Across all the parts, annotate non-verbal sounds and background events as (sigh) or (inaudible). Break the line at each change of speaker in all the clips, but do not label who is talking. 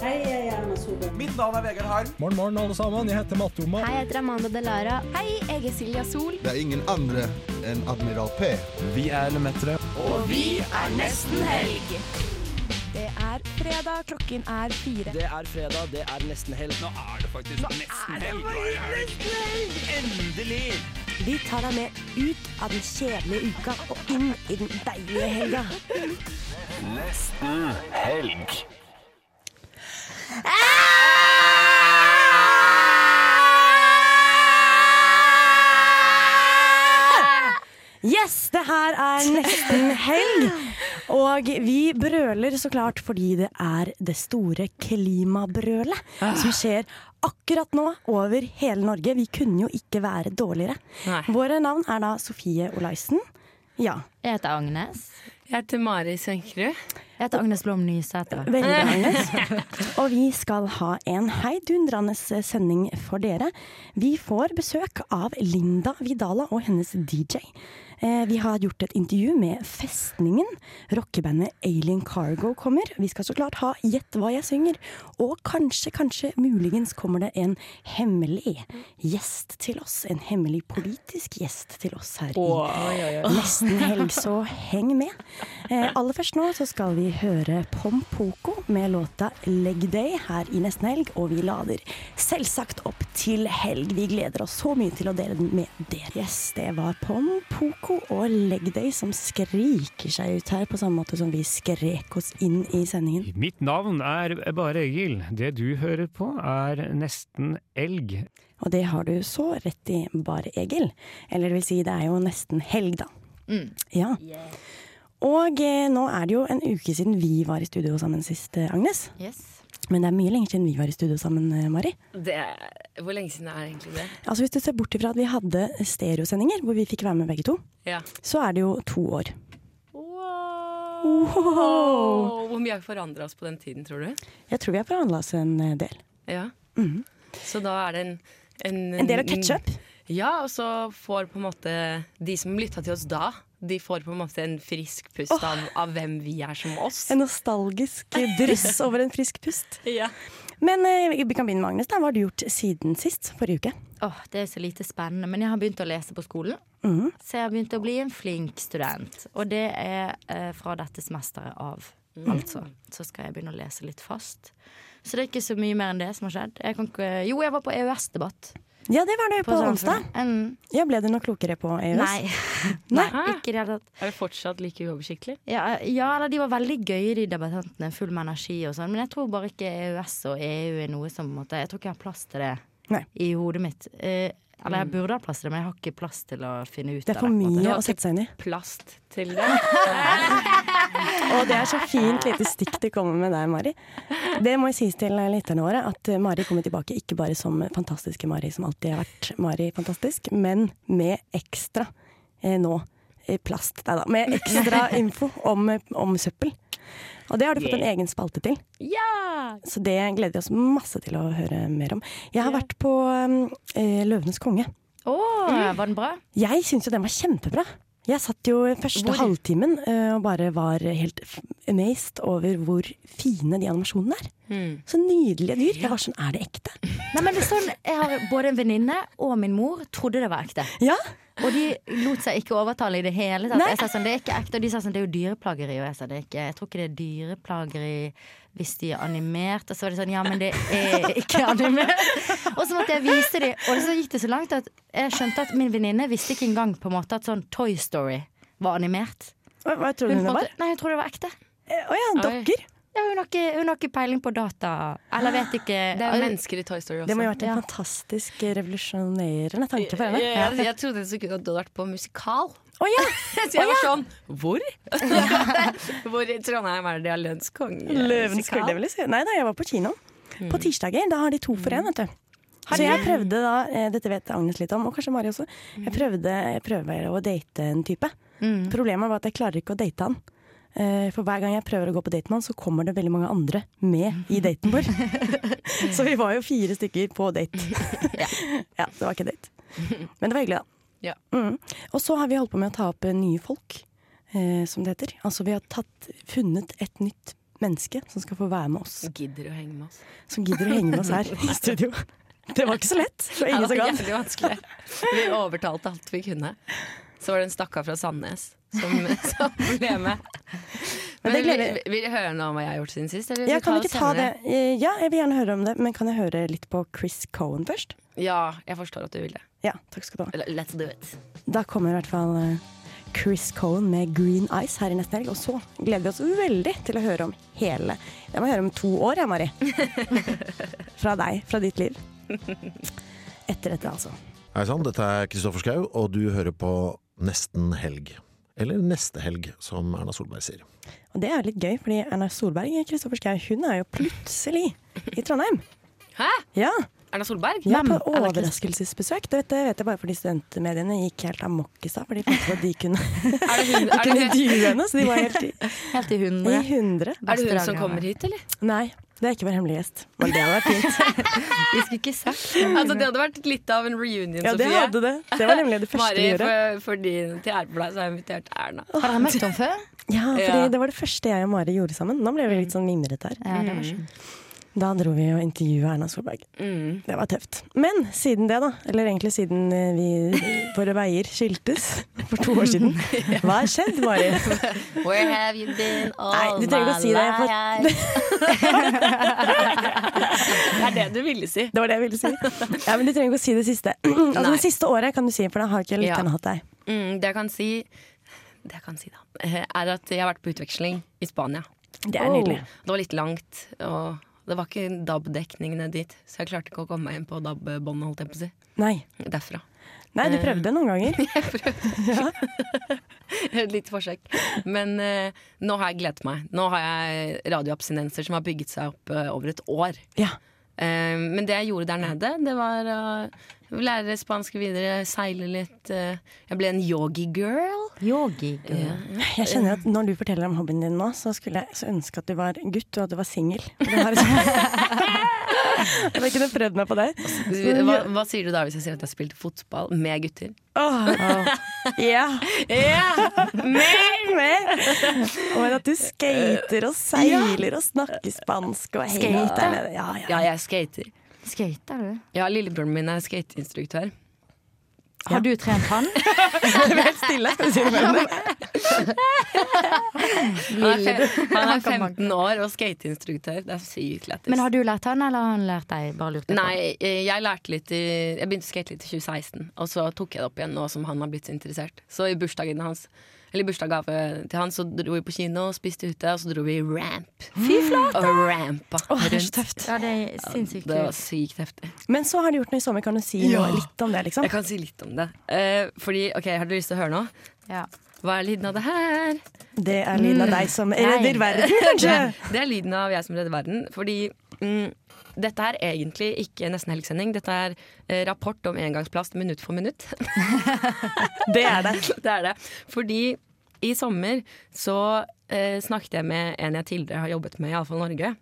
Hei, jeg er Erna Solberg.
Mitt navn er Vegard Harm.
Morgen, morgen, alle sammen. Jeg heter Matte Oma.
Hei, jeg heter Amanda Delara. Hei, jeg er Silja Sol.
Det er ingen andre enn Admiral P.
Vi er Lemetere.
Det er fredag, klokken er fire.
Det er fredag, det er nesten helg. Nå er det faktisk nesten helg. Endelig!
Vi tar deg med ut av den kjedelige uka og inn i den deilige helga. Yes, det her er nesten helg. Og vi brøler så klart fordi det er det store klimabrølet som skjer akkurat nå over hele Norge. Vi kunne jo ikke være dårligere.
Nei.
Våre navn er da Sofie Olaisen. Ja,
Jeg heter Agnes.
Jeg heter Mari Sønkerud.
Jeg heter Agnes Blom Nysæter.
Veldig bra, Agnes. Og vi skal ha en heidundrende sending for dere. Vi får besøk av Linda Vidala og hennes DJ. Eh, Vi har gjort et intervju med Festningen. Rockebandet Alien Cargo kommer. Vi skal så klart ha Gjett hva jeg synger. Og kanskje, kanskje, muligens kommer det en hemmelig gjest til oss. En hemmelig politisk gjest til oss her i (laughs) Nesten helg, så heng med. Eh, aller først nå så skal vi høre Pompoko med låta 'Leg Day' her i Nesten helg, og vi lader selvsagt opp til helg. Vi gleder oss så mye til å dele den med dere. Yes, det var Pompoko og 'Leg Day' som skriker seg ut her, på samme måte som vi skrek oss inn i sendingen.
Mitt navn er Bare Egil. Det du hører på er nesten elg.
Og det har du så rett i, bare Egil. Eller det vil si, det er jo nesten helg, da. Ja. Og eh, nå er det jo en uke siden vi var i studio sammen sist, eh, Agnes.
Yes.
Men det er mye lenger siden vi var i studio sammen, eh, Mari.
Det er, hvor lenge siden er egentlig det?
Altså Hvis du ser bort ifra at vi hadde eh, stereosendinger hvor vi fikk være med begge to,
Ja.
så er det jo to år.
Wow.
Wow.
Hvor mye har forandra oss på den tiden, tror du?
Jeg tror vi har forhandla oss en eh, del.
Ja. Så da er det Mhm. en
En del å catche up.
Ja, og så får på en måte de som lytta til oss da, de får på en måte en frisk pust av, av hvem vi er som oss.
En nostalgisk dryss over en frisk pust.
Ja.
Men eh, vi kan begynne med Agnes. da Hva har du gjort siden sist? Forrige uke?
Åh, det er så lite spennende, men jeg har begynt å lese på skolen. Så jeg har begynt å bli en flink student. Og det er eh, fra dette semesteret av, altså. Så skal jeg begynne å lese litt fast. Så det er ikke så mye mer enn det som har skjedd. Jeg kan ikke, jo, jeg var på E EØS-debatt.
Ja, det var det på, onsdag. E
Samfunnet. Mm.
Ja, Ble du noe klokere på eh, EØS?
Nei. (laughs) Nei, ikke i det hele tatt.
Er vi fortsatt like uoversiktlige?
Ja, ja, eller de var veldig gøye, de debattantene. Full med energi og sånn. Men jeg tror bare ikke EØS og EU er noe som på en måte, Jeg tror ikke jeg har plass til det
Nei.
i hodet mitt. Eh, eller jeg burde ha plass til det, men jeg har ikke plass til å finne ut
Det er
av
for
på en måte.
mye å sette seg inn i.
Plast til det? (laughs)
Og det er så fint lite stikk du kommer med der, Mari. Det må sies til lytterne våre at eh, Mari kommer tilbake ikke bare som fantastiske Mari, som alltid har vært Mari fantastisk, men med ekstra eh, nå eh, plast. Nei da. Med ekstra info om, eh, om søppel. Og det har du fått en egen spalte til. Så det gleder vi oss masse til å høre mer om. Jeg har vært på eh, Løvenes konge.
Åh, Var den bra?
Jeg syns jo den var kjempebra. Jeg satt jo første halvtimen eh, og bare var helt f- amazed over hvor fine de animasjonene er. Så nydelige dyr. Jeg var sånn, er det ekte?
Nei, men det er sånn, jeg har Både en venninne og min mor trodde det var ekte.
Ja,
Og de lot seg ikke overtale i det hele tatt.
Nei.
Jeg sa sånn, det er ikke ekte, Og de sa sånn, det er jo dyreplageri. Og jeg sa det er ikke, jeg tror ikke det er dyreplageri hvis de er animert. Og så var de sånn, ja, men det er ikke animert. Og så måtte jeg vise dem. Og så gikk det så langt at jeg skjønte at min venninne visste ikke engang på en måte at sånn Toy Story var animert.
hva, hva tror du
på
det
en
var?
måte- Nei, jeg tror det var ekte.
Eh, Å ja, dokker.
Ja, hun, har ikke, hun har ikke peiling på data. Eller vet ikke
(gasps) Det er mennesker i Toy Story også.
Det må jo ha vært en
Ja.
fantastisk eh, revolusjonerende tanke for
jeg,
henne.
jeg, jeg trodde et sekund at du hadde vært på musikal.
Å ja!
Så jeg var sånn Hvor? (laughs) Hvor i Trondheim er det de har lønnskonge?
Løvens konge, det vil jeg si. Nei da, jeg var på kino. På tirsdager. Da har de to for én, vet du. Så jeg prøvde da, eh, dette vet Agnes litt om, og kanskje Mari også, jeg prøvde jeg prøver å date en type. Problemet var at jeg klarer ikke å date han. Eh, For hver gang jeg prøver å gå på date med han, så kommer det veldig mange andre med i daten vår. så vi var jo fire stykker på date. ja, det var ikke date. Men det var hyggelig, da.
Ja.
Mm. Og så har vi holdt på med å ta opp eh, nye folk. eh, som det heter. Altså vi har tatt, funnet et nytt menneske som skal få være med oss.
Gidder å henge med oss.
Som gidder å henge med oss her i studio. Det var ikke så lett. Det var ingen
det
som
var
kan.
jævlig vanskelig. Vi overtalte alt vi kunne. Så var det en stakkar fra Sandnes som, (laughs) som ble med.
Men
Men
det gleder-
vil, vil du høre noe om hva jeg har gjort siden sist? Eller vil
Ja,
du
kan vi
det
ikke ta det?
senere?
Eh, Ja, jeg vil gjerne høre om det, men kan jeg høre litt på Chris Cohen først?
Ja, jeg forstår at du vil det.
Ja, takk skal du ha.
Let's do it.
Da kommer i hvert fall eh, Chris Cohen med Green Eyes her i neste helg, og så gleder vi oss veldig til å høre om hele Jeg må høre om to år, jeg, (laughs) Mari. Fra deg, fra ditt liv. Etter dette, altså.
Hei sann, dette er Kristoffer Schau, og du hører på Nesten helg. Eller Neste helg, som Erna Solberg sier.
Og det er jo litt gøy, fordi Erna Solberg Kristoffer Schau, hun er jo plutselig i Trondheim.
Hæ?
Ja,
Erna Solberg?
ja
Hvem?
på
Erna Krist-
overraskelsesbesøk. Det vet, det vet jeg bare fordi studentmediene gikk helt amok i stad. For de fant ut at de (laughs) kunne,
Er det hun,
de
er
kunne
det,
intervjue henne, så de var (laughs) helt i,
Helt i
i
hundre.
hundre.
er det hun som kommer hit, eller?
(laughs) Nei, det er ikke vår hemmelige gjest. Men det hadde vært fint.
Vi skulle ikke sagt
Altså, det hadde vært litt av en reunion,
Ja, det
Sofie.
hadde det. Det var
(laughs)
nemlig det første
Mari,
vi gjorde.
for, for din, til ære for deg, så har jeg invitert Erna.
Har dere møtt henne før?
Ja, fordi
Ja.
det var det første jeg og Mari gjorde sammen. Nå ble vi litt sånn mimrete her.
Ja, det var skjønt.
Da dro vi og intervjua Erna Solberg.
Mm.
Det var tøft. Men siden det, da, eller egentlig siden eh, vi, våre veier
(laughs)
skiltes for to år siden, hva har skjedd, Mari?
Where have you been all
Nei, du trenger ikke å si det. For
Det er det du ville si.
det var det jeg ville si. Ja, men Du trenger ikke å si det siste. (clears throat) Altså,
Nei.
det siste året kan du si, for da har ikke lytterne
Ja.
hatt deg.
Mm, det jeg kan si Det jeg kan si, da, er at jeg har vært på utveksling i Spania.
Det
Oh.
er nydelig.
Det var litt langt, og det var ikke DAB-dekning ned dit, så jeg klarte ikke å komme meg inn på DAB-båndet, holdt jeg på å si.
Nei.
Derfra.
Nei, du prøvde noen ganger.
(laughs) Et lite forsøk. Men eh, nå har jeg gledet meg. Nå har jeg radioabstinenser som har bygget seg opp eh, over et år.
Ja.
Eh, men det jeg gjorde der nede, det var å lære spansk videre, seile litt. eh, jeg ble en yogi-girl.
(laughs) Yogi.
Jeg kjenner at når du forteller om hobbyen din nå, så skulle jeg så ønske at du var gutt, og at du var
(laughs)
singel. For det har- (laughs) Jeg kunne prøvd meg på det.
Altså, Hva, hva sier du da hvis jeg sier at jeg spilte fotball med gutter?
Åh, Ja. Mer, mer. Og men at du skater og seiler og snakker spansk og helt der nede. Ja, ja.
(laughs) Ja, jeg skater.
Skater du?
Ja, Lillebroren min er skateinstruktør.
Har du trent han?
(laughs)
Stille, skal du si det mellom dem.
(laughs) Han er, fem, han er 15 år og skateinstruktør. Det er sykt lættis.
Men har du lært han, eller har han lært deg? Bare lurt deg på?
Nei, eh, jeg lærte litt i Jeg begynte å skate litt i 2016, og så tok jeg det opp igjen nå som han har blitt så interessert. Så i bursdagen hans Eller i bursdagsgave til han, så dro vi på kino, spiste ute, og så dro vi i ramp. Fy flate! Og rampa rundt.
Ja, det er sinnssykt
Det var
kult.
sykt heftig.
Men så har du gjort noe i sommer. Kan du si noe litt om det? liksom?
Jeg kan si litt om det. Eh, fordi, ok, Har dere lyst til å høre nå?
Ja.
Hva er lyden av det her?
Det er lyden av deg som redder verden,
Det,
kanskje?
det er lyden av jeg som redder verden. Fordi mm, dette er egentlig ikke nesten helgsending. Dette er eh, rapport om engangsplast minutt for minutt.
Det er det.
det er det. Fordi i sommer så eh, snakket jeg med en jeg tidligere har jobbet med i Avfall Norge.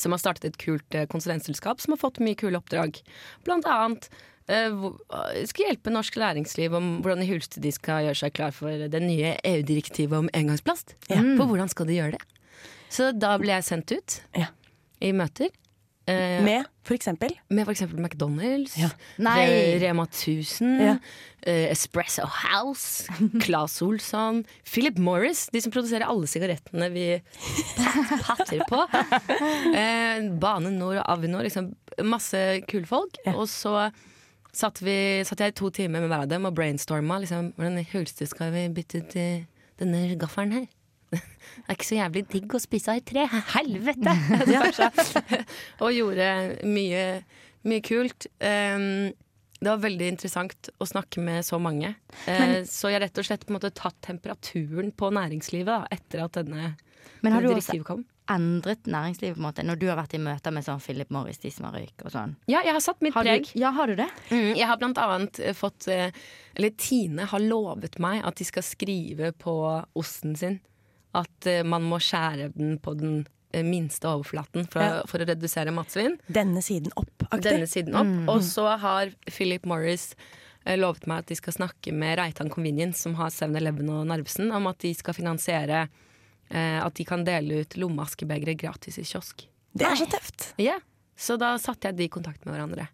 Som har startet et kult eh, konsulentselskap som har fått mye kule oppdrag. Blant annet eh, hvor- eh, skulle hjelpe norsk læringsliv om hvordan i hulste de skal gjøre seg klar for det nye EU-direktivet om engangsplast. På hvordan skal de gjøre det? Så da ble jeg sendt ut
Ja.
i møter. eh,
Med for eksempel
med f.eks. McDonald's,
Nei.
Re- Rema 1000,
Ja.
eh, Espresso House, Claes Olsson, Philip Morris, de som produserer alle sigarettene vi patter på. Eh, Bane Nor og Avinor, liksom masse kule folk. Og så satt, vi, satt jeg i to timer med hver av dem og brainstorma. Liksom, hvordan i huleste skal vi bytte ut eh, denne gaffelen her? (laughs) Det er ikke så jævlig digg å spise av i tre. Helvete! (laughs) og gjorde mye, mye kult. Um, det var veldig interessant å snakke med så mange. Eh, så jeg har rett og slett på en måte tatt temperaturen på næringslivet da, etter at denne
(laughs) Men har du også
direktivet kom.
endret næringslivet, på en måte, når du har vært i møter med sånn Philip Morris, de som har røyk og sånn?
Ja, jeg har satt mitt
Har
preg.
du, ja, har du det?
Mm, jeg har blant annet eh, fått eh, Eller Tine har lovet meg at de skal skrive på osten sin at eh, man må skjære den på den eh, minste overflaten for, å- for å redusere matsvinn.
denne siden opp-aktig.
Denne siden opp. Og så har Philip Morris eh, lovet meg at de skal snakke med Reitan Convenience, som har 7-Eleven og Narvesen, om at de skal finansiere eh, at de kan dele ut lommeaskebegre gratis i kiosk.
Det er så tøft.
Ja, Så da satte jeg de i kontakt med hverandre.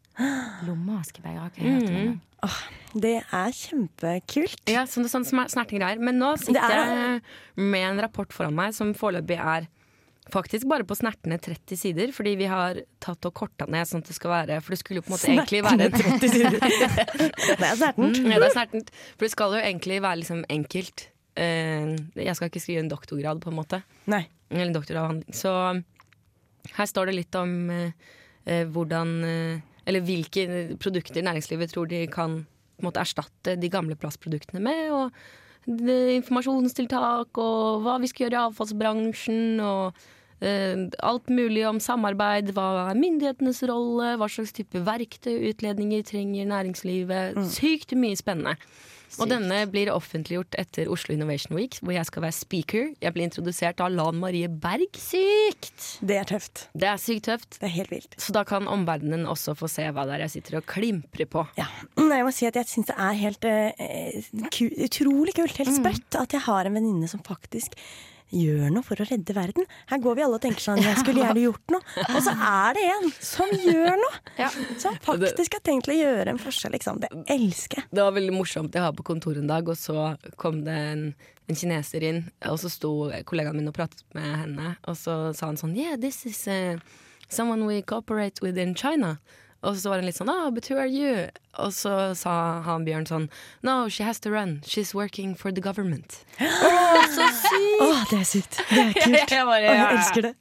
Lommeaskebeger har ikke jeg hørt om engang.
Det er kjempekult.
Ja, sånn, sånn smer- snertingreier. Men nå
Det
sitter
er-
jeg eh, med en rapport foran meg som foreløpig er faktisk bare på snertne 30 sider, fordi vi har tatt og korta ned sånn at det skal være For det skulle jo på en måte egentlig være en 30 sider.
Det er snertent.
Mm, ja, det er snertent. For det skal jo egentlig være liksom enkelt. Eh, jeg skal ikke skrive en doktorgrad, på en måte.
Nei.
Eller en doktoravhandling. Så um, her står det litt om eh, eh, hvordan eh, Eller hvilke produkter næringslivet tror de kan på en måte, erstatte de gamle plastproduktene med. Og det- informasjonstiltak, og hva vi skal gjøre i avfallsbransjen. og eh, Alt mulig om samarbeid, hva er myndighetenes rolle, hva slags type verktøy utledninger trenger næringslivet. Sykt mye spennende. Og denne blir offentliggjort etter Oslo Innovation Week, hvor jeg skal være speaker. Jeg blir introdusert av Lan Marie Berg. Sykt!
Det er tøft.
Det er sykt tøft.
Det er helt vilt.
Så da kan omverdenen også få se hva det er jeg sitter og klimprer på.
Ja. Mm, Jeg må si at jeg syns det er helt eh, ku, utrolig kult, helt sprøtt, at jeg har en venninne som faktisk gjør noe for å redde verden. Her går vi alle og tenker sånn Jeg skulle gjerne gjort noe. Og så er det en som gjør noe! Som faktisk har tenkt til å gjøre en forskjell. Liksom. Det elsker jeg.
Det var veldig morsomt. Jeg var på kontoret en dag, og så kom det en, en kineser inn. Og så sto kollegaen min og pratet med henne, og så sa han sånn Yeah, this is eh, someone we cooperate with in China. Og så var han litt sånn ah, but who are you? Og så sa han Bjørn sånn No, she has to run. She's working for the government.
Å, det er sykt! (laughs) Det er kult.
Jeg bare,
Å,
ja, ja.
jeg elsker det.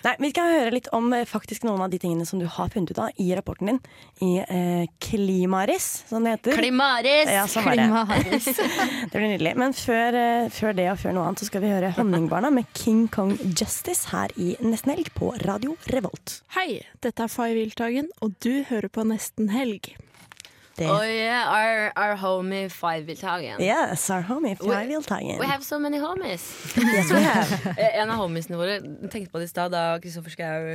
Nei, vi skal høre litt om eh, faktisk noen av de tingene som du har funnet ut av i rapporten din. I eh, Klimaris, som det heter.
Klimaris!
Ja, sånn var det. Det blir nydelig. Men før, eh, før det og før noe annet, så skal vi høre Honningbarna med King Kong Justice her i Nesten Helg på Radio Revolt.
Hei, dette er Fay Wiltagen, og du hører på Nesten Helg.
Det.
Oh yeah, our, our homie Five Viltagen.
Yes, our homie fra Wildtagen.
We have so many homies.
Yes, we have.
Eh, En av homiesene våre jeg tenkte på det i stad da Kristoffer Schau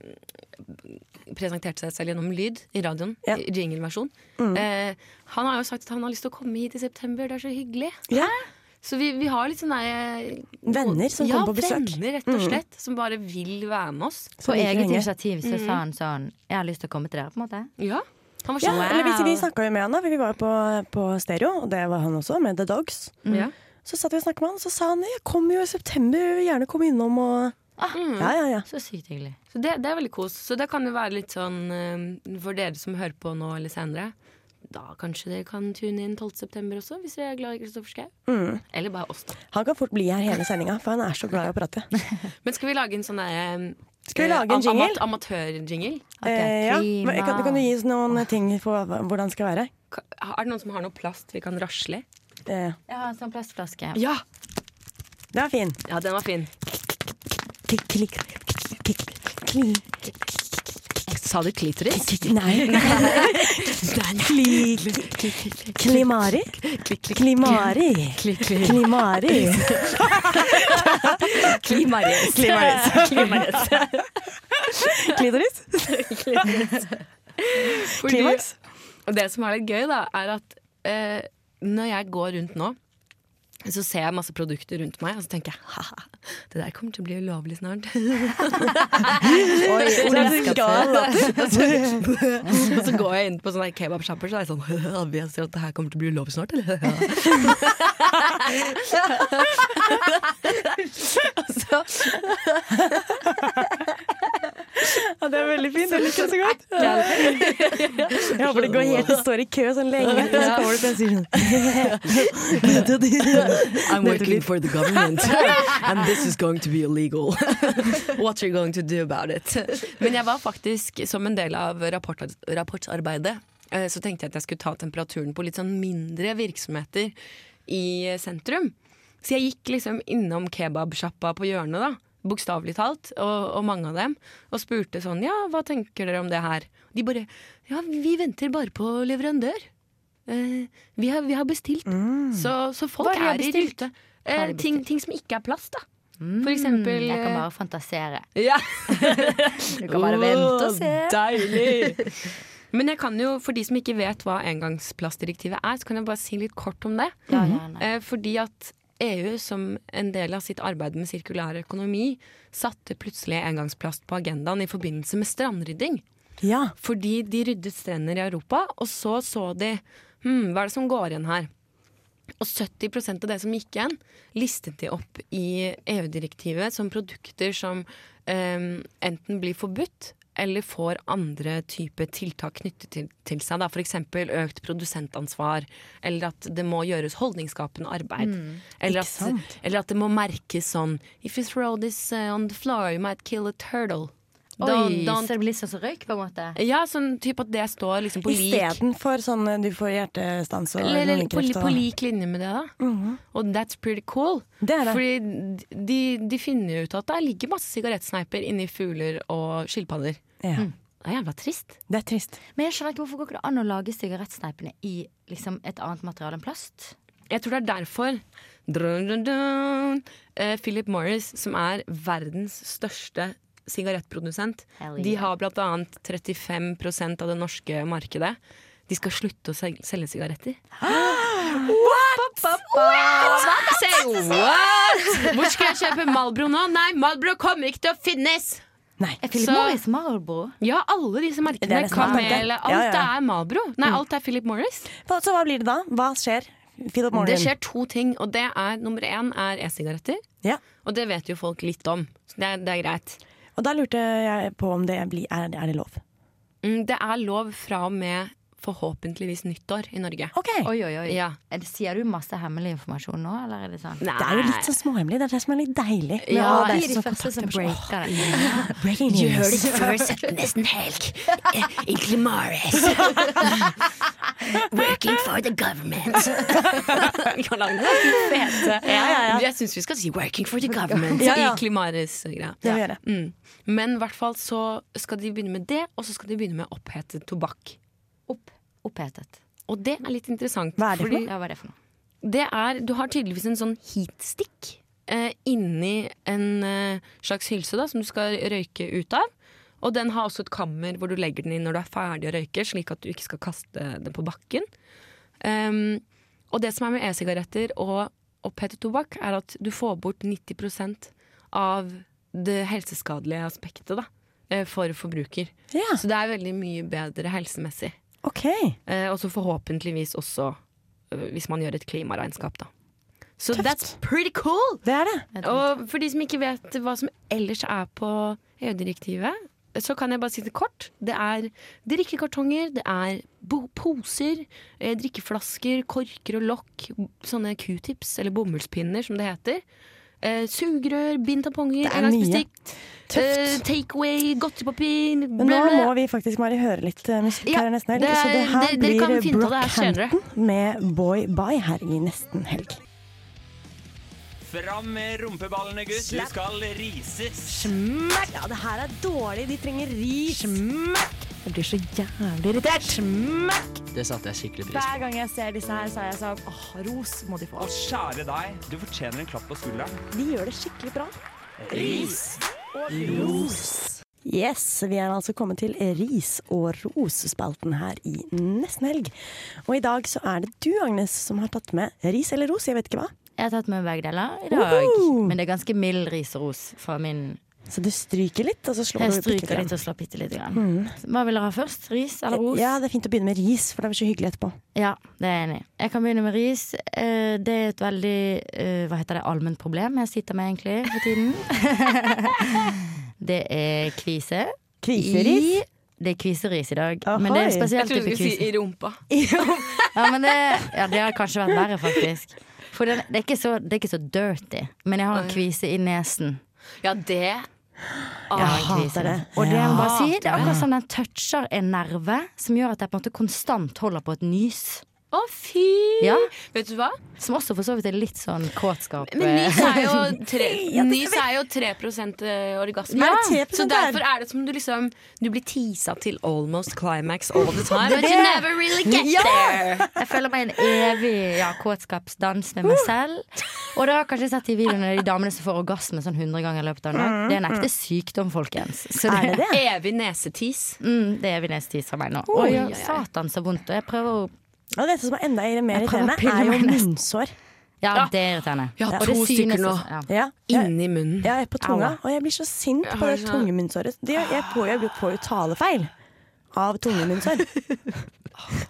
mm, presenterte seg selv gjennom lyd i radioen.
Ja. Mm.
i Jingleversjon. Eh, han har jo sagt at han har lyst til å komme hit i september. Det er så hyggelig.
Ja.
Så vi, vi har litt sånne eh,
Venner som
ja,
kommer på besøk. Mm.
venner, rett og slett. Som bare vil være med oss.
Så
På
like
eget
lenge.
initiativ så sa han sånn Jeg har lyst til å komme til dere, på en måte.
Ja. Han var
Ja,
så
eller vi, vi
Wow.
snakka jo med han da, for vi var jo på, på stereo, og det var han også, med The Dogs.
Ja.
Så satt vi og snakka med han, og så sa han jeg kommer jo i september, jeg vil gjerne komme innom og Ja, ja, ja.
Så sykt hyggelig.
Så det, det er veldig kos. Så det kan jo være litt sånn eh, for dere som hører på nå eller senere. Da kanskje dere kan tune inn 12.9 også, hvis dere er glad i Kristoffer Schau.
Mm.
Eller bare oss, da.
Han kan fort bli her hele sendinga, for han er så glad i å prate.
Men skal vi lage en sånn derre
Skal vi lage en jingle?
Amatørjingle?
Ok,
Eh, ja.
klima.
Men kan, kan du gi oss noen ting på hva- hvordan det skal være?
Ka- Er det noen som har noe plast vi kan rasle i?
Eh,
Jeg har en sånn plastflaske.
Ja!
det er fin.
Ja, den var fin.
Klikk, klikk, klikk, klikk,
Sa du klitoris?
klikk, Nei. (laughs) Klikk, Klimari? Klimari.
(laughs)
Klimari.
(laughs)
Klimaris. Klimaris.
Klitoris?
Fordi-
Klimaks?
Og det som er litt gøy, da, er at eh, når jeg går rundt nå, så ser jeg masse produkter rundt meg, og så tenker jeg haha, det der kommer til å bli ulovlig snart. (laughs)
Så er det så
(laughs)
gal latter.
og så (laughs) går jeg inn på sånne kebabsjapper, så er jeg sånn (laughs) Vi ser at det her kommer til å bli ulovlig snart, eller? så,
Ja, det er veldig fint. Jeg liker det så godt. Jeg håper det går helt til du står i kø sånn
(laughs)
lenge. Så kommer du til å si sånn
I'm working for the
(laughs)
government, and this is going to be illegal. (laughs) What are you going to do about it? Men jeg var faktisk, som en del av rapport, rapportarbeidet, eh, så tenkte jeg at jeg skulle ta temperaturen på litt sånn mindre virksomheter i eh, sentrum. Så jeg gikk liksom innom kebabsjappa på hjørnet, da, bokstavelig talt, og, og mange av dem, og spurte sånn ja, hva tenker dere om det her? De bare ja, vi venter bare på leverandør. Eh, vi, har, vi har bestilt. Så, så folk
Hva er det de har
er i
bestilt?
rute.
Hva
Eh,
har de
ting,
bestilt?
ting som ikke er plast, da. For eksempel
Mm. Jeg kan bare
(laughs)
fantasere.
ja.
Du kan bare vente og se. (laughs)
Deilig! Men jeg kan jo, for de som ikke vet hva engangsplastdirektivet er, så kan jeg bare si litt kort om det.
Ja, gjerne.
Eh, fordi at EU som en del av sitt arbeid med sirkulær økonomi satte plutselig engangsplast på agendaen i forbindelse med strandrydding.
Ja.
Fordi de ryddet strender i Europa, og så så de hmm, hva er det som går igjen her. Og 70 av det som gikk igjen, listet de opp i EU-direktivet som produkter som eh, enten blir forbudt eller får andre typer tiltak knyttet til, til seg. da. F.eks. økt produsentansvar, eller at det må gjøres holdningsskapende arbeid. eller, at, eller at det må merkes sånn If you throw this eh, on the floor, you might kill a turtle.
Oi,
Don't- don't
så det blir litt sånn som røyk, på en måte?
ja, sånn typ at det står liksom på lik
Istedenfor sånn eh, du får hjertestans og
eller, eller, på,
lungekreft
på
og
lik linje med det, da. Og that's pretty cool.
Mhm. Det er det.
Fordi de, de finner ut at det ligger masse sigarettsneiper inni fugler og skilpadder.
ja.
Det er jævla trist.
Det er trist.
Men jeg skjønner ikke hvorfor går ikke det an å lage sigarettsneipene i liksom, et annet materiale enn plast?
Jeg tror det er derfor dun, dun, dun, eh, Philip Morris, som er verdens største sigarettprodusent,
Hell
de
yeah.
har blant annet 35 av det norske markedet. De skal slutte å sel- selge (gasps) sigaretter. Say what? Hvor skal jeg kjøpe Malbro nå? Nei, Malbro kommer ikke til å finnes!
Nei.
Er Philip
Så-
Morris Marlboro?
Ja, alle disse
Det er
merkene.
det som er merket.
Kamel, alt
Ja, ja.
er Malbro. Nei, alt er Philip Morris.
Hva- Så hva blir det da? Hva skjer? Philip Morgan.
Det skjer to ting, og det er nummer én er e-sigaretter.
Ja.
Og det vet jo folk litt om, så det er, det er greit.
Og da lurte jeg på om det blir, er, er det lov.
Mm, Det er lov fra og med forhåpentligvis nyttår i Norge.
Ok,
Oi, oi, oi.
Ja.
Er det, sier du masse hemmelig informasjon nå, eller er det sånn?
Nei.
Det er jo litt sånn småhemmelig. Det er det som er litt deilig. med
Ja,
å ha
vi
deg
er de
som
første som
kontakter oss.
breaker det.
Åh, breaking news.
før 17. nesten helg. Egentlig Morris. Working for the government. Jeg syns vi skal si 'working for the government'
Ja, ja.
i Klimaris-greia.
Det må vi gjøre.
Mm. Men i hvert fall så skal de begynne med det, og så skal de begynne med opphetet tobakk.
Opp, opphetet.
Og det er litt interessant.
Hva er det for
fordi
Ja, hva er det for noe?
det er, du har tydeligvis en sånn heatstick eh, inni en eh, slags hylse da, som du skal røyke ut av. Og den har også et kammer hvor du legger den inn når du er ferdig å røyke, slik at du ikke skal kaste den på bakken. Ehm, og det som er med e-sigaretter og opphetet tobakk, er at du får bort 90 av det helseskadelige aspektet da, eh, for forbruker.
Ja,
Så det er veldig mye bedre helsemessig.
ok.
Eh, og så forhåpentligvis også eh, hvis man gjør et klimaregnskap, da. Så
Tøft.
that's pretty cool!
Det er det.
Og for de som ikke vet hva som ellers er på EU-direktivet, så kan jeg bare si det kort. Det er drikkekartonger, det er bo- poser, eh, drikkeflasker, korker og lokk, sånne q-tips, eller bomullspinner som det heter. Eh, sugerør, bind tamponger,
Det er
engangsbestikk, eh,
Tøft.
takeaway, godtepapir
Men nå må vi faktisk bare høre litt eh, musikk
Ja,
her i Nesten Helg.
det er-
så det her
dere- dere kan
blir
finne ut av det her senere.
Brockhampton med Boy Bye her i Nesten Helg.
Fram med rumpeballene, gutt. Du skal rises.
Ja, det her er dårlig. De trenger ris.
Det satte jeg skikkelig pris på.
gang jeg ser disse her, så er jeg sånn åh, ros må de få.
Og kjære deg, du fortjener en klapp på skulderen.
De gjør det skikkelig bra.
Ris!
Yes, vi er altså kommet til ris- og rosespalten her i Nesten Helg. Og i dag så er det du, Agnes, som har tatt med ris eller ros, jeg vet ikke hva.
Jeg har tatt med begge deler i dag.
Uhu!
Men det er ganske mild ris og ros fra min
Så du stryker litt, og så slår
Jeg
du bitte
stryker
grann.
litt og slår bitte lite grann. Hva vil dere ha først? Ris eller ros?
Ja, det er fint å begynne med ris, for det blir så hyggelig etterpå.
Ja, det er jeg enig i. Jeg kan begynne med ris. Eh, Det er et veldig eh, hva heter det, allment problem jeg sitter med egentlig for tiden. (laughs) det er kvise.
Kviseris.
I- Det er kviseris i dag.
Ahoy.
Men det er en
Jeg
spesiell
trodde du
type
skulle si
kvise.
i rumpa.
Ja, men det, ja, det har kanskje vært verre, faktisk. For den, det, er ikke så, det er ikke så dirty, men jeg har en kvise i nesen.
Ja, det
Jeg
ah,
har en kvise.
hater det.
Og det, jeg må bare si, det er akkurat som den toucher en nerve som gjør at jeg på en måte konstant holder på et nys.
Å, fy!
Ja,
Vet du hva?
Som også for så vidt er litt sånn kåtskap.
Men nys er jo
eh,
(laughs)
3, nys er jo 3 eh, orgasme.
Ja, 3%
så derfor er det som du liksom Du blir tisa til almost climax all the time. But you never really get there.
eh, Jeg føler meg i en evig ja, kåtskapsdans med meg selv. Og det har jeg kanskje sett i videoene de damene som får orgasme sånn 100 ganger i løpet av en dag. Det er en ekte
Mm.
sykdom, folkens. Så
Er det det?
Evig nesetis.
Mm, det er vi neste tid for meg nå.
Oi,
Oi,
oi, oi.
satan så vondt. Og jeg prøver å
Og det som er enda mer
Jeg prøver å
irriterende,
pille
er jo
meg nest.
munnsår.
Ja,
Ja.
det er irriterende.
Jeg har
Og det
to
synes
stykker nå.
også- Ja.
Ja. Jeg,
Inni munnen.
jeg er på tunga,
Au.
og jeg blir så sint
Jeg
på
har
det
sånn-
tungemunnsåret. Det- Jeg får jo, jeg får jo talefeil av
(laughs)
tungemunnsår.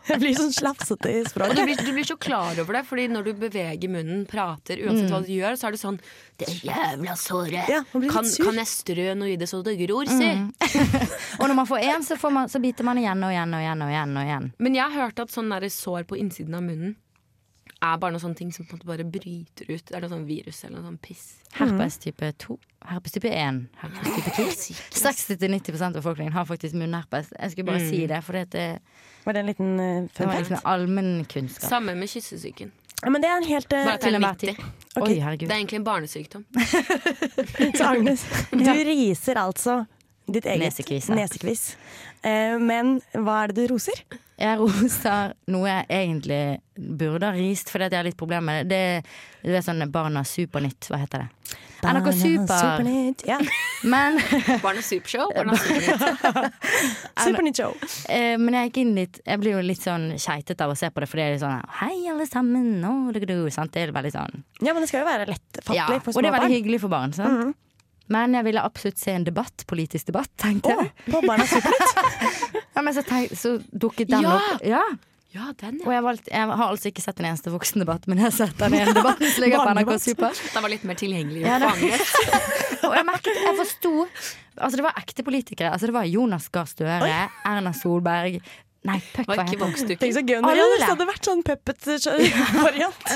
Jeg blir sånn slafsete i
Og du
språket.
blir, du blir så klar over det, Fordi når du beveger munnen, prater, uansett hva du gjør, så er du sånn Det jævla såret.
Mm. Ja, man blir litt
kan,
sur. Mm.
kan jeg strø noe i det så det gror, si?
Og når man får én, så, får man- så biter man igjen og igjen og igjen. og igjen, og igjen.
Men jeg har hørt at sånn der sår på innsiden av munnen er bare noen sånne ting som på en måte bare bryter ut. Det er noe sånn virus eller noe sånn piss.
Mm.
Herpes type 2. Herpes type 1. Herpes type 2. 60-90 av befolkningen har faktisk munnherpes. Jeg skulle bare
Mm.
si det, for det, det,
Var det en liten eh,
det
fun
var
fact?
liksom allmennkunnskap.
Samme med kyssesyken.
Ja, men det er en helt eh,
Bare at det
til
er
enhver
nyttig.
Ok.
Oi,
Det
herregud.
er egentlig en barnesykdom.
Så Agnes,
(laughs)
du riser altså ditt eget
Nesekvis,
nesekviss.
ja.
Eh, men hva er det du roser?
Jeg roser noe jeg egentlig burde ha rist, fordi at jeg har litt problemer med det. Det- Du vet sånn Barna Supernytt, hva heter det? NRK Super.
Ah, Supernytt.
(laughs)
Ja.
Men (laughs)
Barnas supershow. Barnas supernytt.
Supernytt show.
Eh, men jeg gikk inn litt Jeg blir jo litt sånn skeitet av å se på det, for det er litt sånn Hei, alle sammen, nå du, du, sant? Det er veldig sånn
Ja, men det skal jo være lettfattelig
Ja,
for Mm.
Og
små
det er
barn.
veldig hyggelig for barn, sant? Men jeg ville absolutt se en debatt, politisk debatt, tenkte
Å,
jeg.
på Barnas Supernytt.
Ja, men så, tenk, så dukket den
Ja!
opp. Ja,
Ja, den,
Og
ja.
jeg, valgte, jeg har altså ikke sett en eneste voksendebatt, men jeg har sett den ene debatten som ligger på NRK
Barnedebatt.
Super.
Den var litt mer tilgjengelig.
Ja,
Ja,
det- Og jeg merket, jeg forsto Altså, det var ekte politikere. Altså, det var Jonas Gahr Støre, Erna Solberg Nei, puck,
var
hva
ikke
heter hun?
vokstuke.
Tenk så gøy
Alle.
når det hadde vært sånn puppet-variant.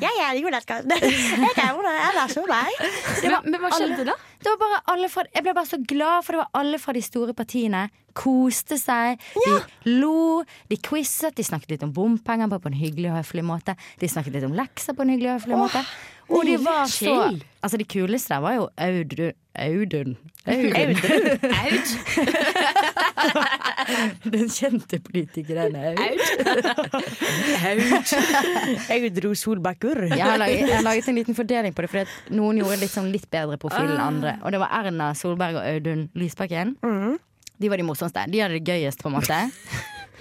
Jeg er Jonas Gahr Støre. Jeg er Jonas Solberg.
Men, men hva skjedde da?
Det var bare alle fra, jeg ble bare så glad, for det var alle fra de store partiene. Koste seg, de lo, de quizet, de snakket litt om bompenger bare på en hyggelig og høflig måte. De snakket litt om lekser på en hyggelig og høflig måte. Og de var så
chill.
Altså, de kuleste der var jo Audun Audun. Audun. (laughs)
Aud?
Den kjente politikeren Audun.
(laughs) Aud.
Audro Solbakkur.
Jeg har, laget, jeg har laget en liten fordeling på det, fordi at noen gjorde litt, sånn litt bedre profil
Ah.
enn andre. Og det var Erna Solberg og Audun Lysbakken.
Mm.
De var de morsomste. De hadde det gøyest, på en
(laughs)
måte.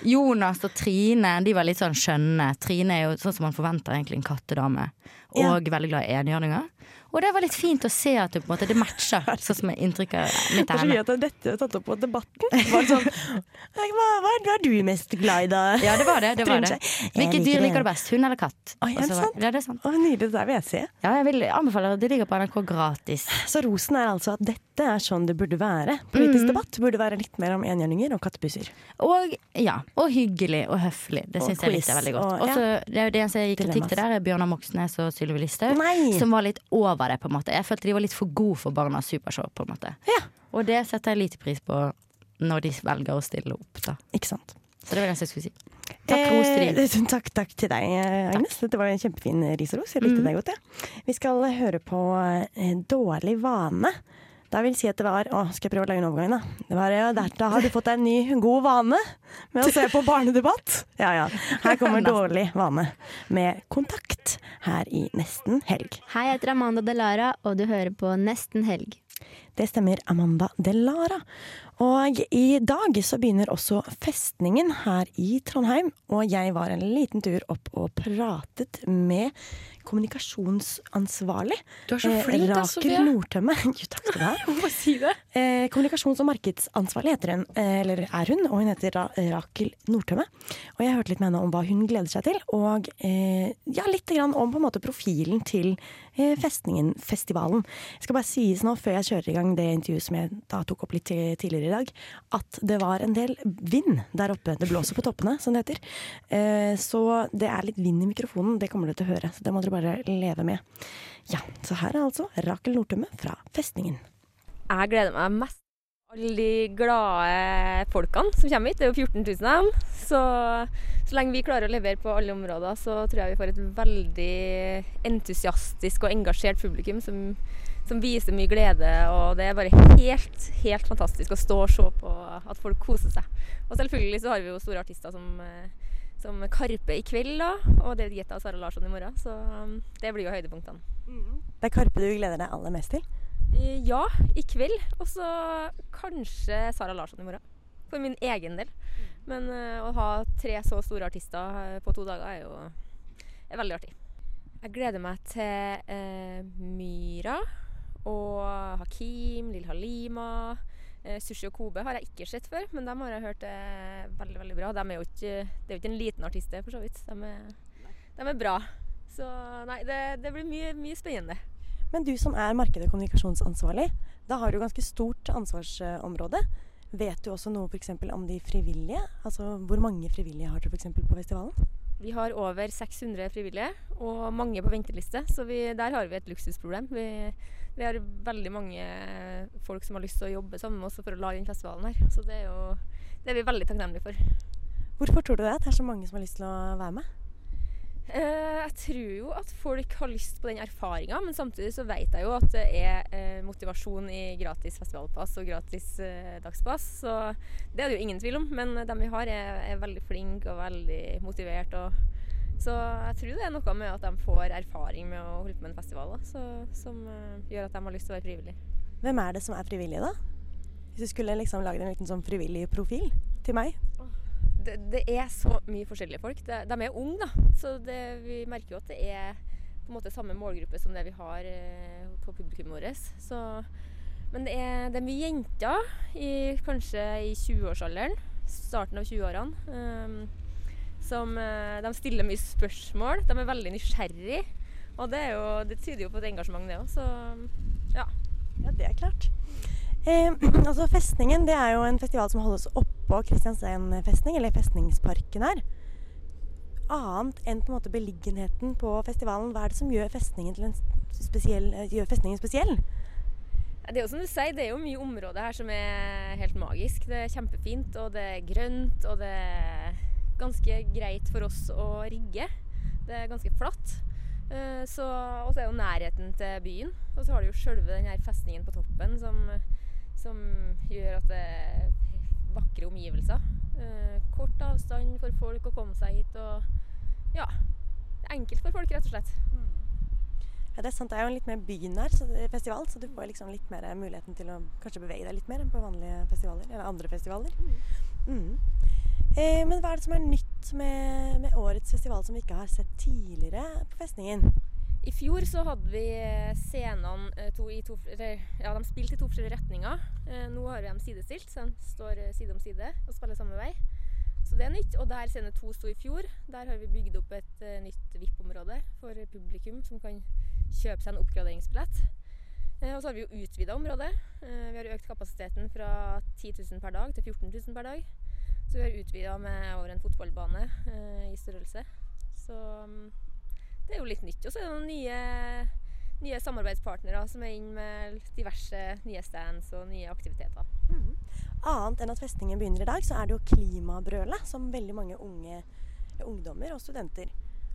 Jonas og Trine De var litt sånn skjønne. Trine er jo sånn som man forventer egentlig en kattedame. Og
Ja.
veldig glad i enhjørninger. Og det var litt fint å se at det, på en måte, det
(laughs)
matcher, sånn som inntrykket mitt
Det
av
er så gøy
henne.
at dette er tatt opp på debatten. Var det sånn, (laughs) hva, hva, er- hva er du mest glad i, da?
Ja, det var det. det, var det.
Trine sier, «Jeg
Hvilket dyr
det».
liker du best? Hund eller katt?
Oi, er
Og så
det
var-
sant?
Ja, det er sant.
Å, nydelig, det der vil jeg se.
Ja, jeg vil anbefale det. Det ligger på NRK gratis.
Så rosen er altså at dette er sånn det burde være. Politisk debatt burde være litt mer om enhjørninger og kattebusser.
Og, ja, og hyggelig og høflig. Det
Og
syns jeg
quiz,
likte veldig godt.
og-
Og
ja.
så det er jo det eneste jeg gir kritikk til der, er Bjørnar Moxnes og Sylvi Listhaug.
Nei.
Som var litt over det, på en måte. Jeg følte de var litt for gode for Barnas Supershow, på en måte.
Ja.
Og det setter jeg lite pris på når de velger å stille opp, da.
Ikke sant.
Så det var det eneste jeg skulle si. Takk for rosen.
Eh, (laughs) takk, takk til deg, Agnes. Dette var en kjempefin ris og ros. Jeg
Mm.
likte deg godt, jeg. Ja. Vi skal høre på eh, Dårlig vane. Da vil si at det var Å, skal jeg prøve å lage en overgang, da? Det var, ja, der, da har du fått deg en ny god vane med å se på barnedebatt. Ja ja.
(laughs)
Her kommer Dårlig vane med Kontakt her i Nesten helg.
Hei, jeg heter Amanda Delara, og du hører på Nesten helg.
Det stemmer Amanda Delara. Og i dag så begynner også festningen her i Trondheim. Og jeg var en liten tur opp og pratet med kommunikasjonsansvarlig.
Du er så flink,
eh,
da, Sofie.
Rakel Nordtømme. (laughs) Jo, takk skal du ha.
Hvorfor si det?
Eh, kommunikasjons- og markedsansvarlig heter hun, eh, eller er hun, og hun heter Ra Rakel Nordtømme. Og jeg hørte litt med henne om hva hun gleder seg til, og eh, ja, litt grann om på en måte profilen til eh, festningen, festivalen. Jeg skal bare sies nå, før jeg kjører i gang det intervjuet som jeg da tok opp litt ti- tidligere i dag, at det var en del vind der oppe. Det blåser på toppene, som det heter. Eh, så det er litt vind i mikrofonen, det kommer dere til å høre. Så det må dere bare leve med. Ja, så her er altså Rakel Nordtømme fra Festningen.
Jeg gleder meg mest til alle de glade folkene som kommer hit. Det er jo 14 000 av dem. Så
Så så lenge vi klarer å levere på alle områder, så tror jeg vi får et veldig entusiastisk og engasjert publikum som, som viser mye glede. Og det er bare helt, helt fantastisk å stå og se på at folk koser seg. Og selvfølgelig så har vi jo store artister som, eh, som Karpe i kveld, da, og David Guetta og Sara Larsson i morgen. Så um, det blir jo høydepunktene.
Det er Karpe du gleder deg aller mest til.
Eh, Ja, i kveld. Og så kanskje Sara Larsson i morgen. For min egen del. Men eh, å ha tre så store artister eh, på to dager er jo er veldig artig. Jeg gleder meg til eh, Myra og Hakim, Lill Halima. Eh, Sushi og Kobe har jeg ikke sett før, men dem har jeg hørt er veldig veldig bra. Dem er jo ikke, det er jo ikke en liten artist, det, for så vidt. De er, dem er bra. Så nei, det, det blir mye, mye spennende.
Men du som er marked- og kommunikasjonsansvarlig, da har du ganske stort ansvarsområde. Vet du også noe for eksempel om de frivillige? Altså hvor mange frivillige har dere for eksempel på festivalen?
Vi har over 600 frivillige, og mange på venteliste, så vi, der har vi et luksusproblem. Vi, vi har veldig mange folk som har lyst til å jobbe sammen med oss for å lage den festivalen her. Så det er, jo, det er vi veldig takknemlige for.
Hvorfor tror du det at det er så mange som har lyst til å være med?
Eh, jeg tror jo at folk har lyst på den erfaringa, men samtidig så vet jeg jo at det er eh, motivasjon i gratis festivalpass og gratis eh, dagspass. Så det er det jo ingen tvil om. Men eh, dem vi har, er, er veldig flinke og veldig motivert. Og så jeg tror det er noe med at de får erfaring med å holde på med en festival, da, så, som eh, gjør at de har lyst til å være frivillige.
Hvem er det som er frivillige da? Hvis du skulle liksom lage en liten sånn frivillig profil til meg?
det, det er så mye forskjellige folk. De, de er unge, da. Så det, vi merker jo at det er på en måte samme målgruppe som det vi har eh, på publikummet vårt. Så, men det er, det er mye jenter, i, kanskje i 20-årsalderen, starten av 20-årene, ehm, som eh, de stiller mye spørsmål. De er veldig nysgjerrige. Og det, er jo, det tyder jo på et engasjement, det òg. Så ja.
Ja, det er klart. Eh, (clears throat) altså Festningen det er jo en festival som holdes oppå Kristiansand festning, eller festningsparken her. Annet enn på en måte beliggenheten på festivalen, hva er det som gjør festningen, til en spesiell, eh, gjør festningen spesiell?
Ja, Det er jo som du sier, det er jo mye områder her som er helt magisk. Det er kjempefint, og det er grønt, og det er ganske greit for oss å rigge. Det er ganske flatt. Eh, Så, og så er jo nærheten til byen. Og så har du jo sjølve den her festningen på toppen som, som gjør at det er vakre omgivelser. Eh, Kort avstand for folk å komme seg hit og Ja. Det er enkelt for folk, rett og slett.
Ja, det er sant, det er jo en litt mer bynær så- eh, festival, så du får liksom litt mer eh, muligheten til å kanskje bevege deg litt mer enn på vanlige festivaler, eller andre festivaler. Mm. Eh, men hva er det som er nytt med, med årets festival som vi ikke har sett tidligere på festningen?
I fjor så hadde vi eh, scenene eh, to, i to, eller, ja, de spilte i to forskjellige retninger. Eh, Nå har vi dem sidestilt, så de står eh, side om side og spiller samme vei. Så det er nytt. Og der scene to sto i fjor. Der har vi bygd opp et eh, nytt VIP-område for publikum som kan kjøpe seg en oppgraderingsbillett. Eh, Og så har vi jo utvida området. Eh, Vi har økt kapasiteten fra 10 000 per dag til 14 000 per dag. Så vi har utvida med over en fotballbane eh, i størrelse. Så mm, det er jo litt nytt. Og så er det noen nye, nye samarbeidspartnere som er inn med diverse nye stands og nye aktiviteter.
Annet enn at festningen begynner i dag, så er det jo klimabrølet som veldig mange unge eh, ungdommer og studenter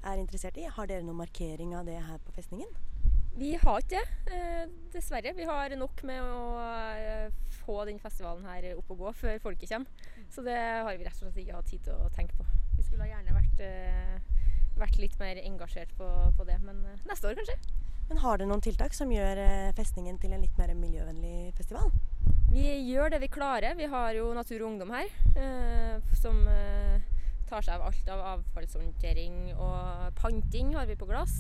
er interessert i. Har dere noen markering av det her på festningen?
Vi har ikke det, eh, dessverre. Vi har nok med å eh, få den festivalen her opp og gå før folket kommer. Så det har vi rett og slett ikke hatt tid til å tenke på. Vi skulle ha gjerne vært, eh, vært litt mer engasjert på, på det, men eh, neste år kanskje.
Men har dere noen tiltak som gjør eh, festningen til en litt mer miljøvennlig festival?
Vi gjør det vi klarer. Vi har jo Natur og Ungdom her, eh, som eh, tar seg av alt av avfallshåndtering og panting har vi på glass.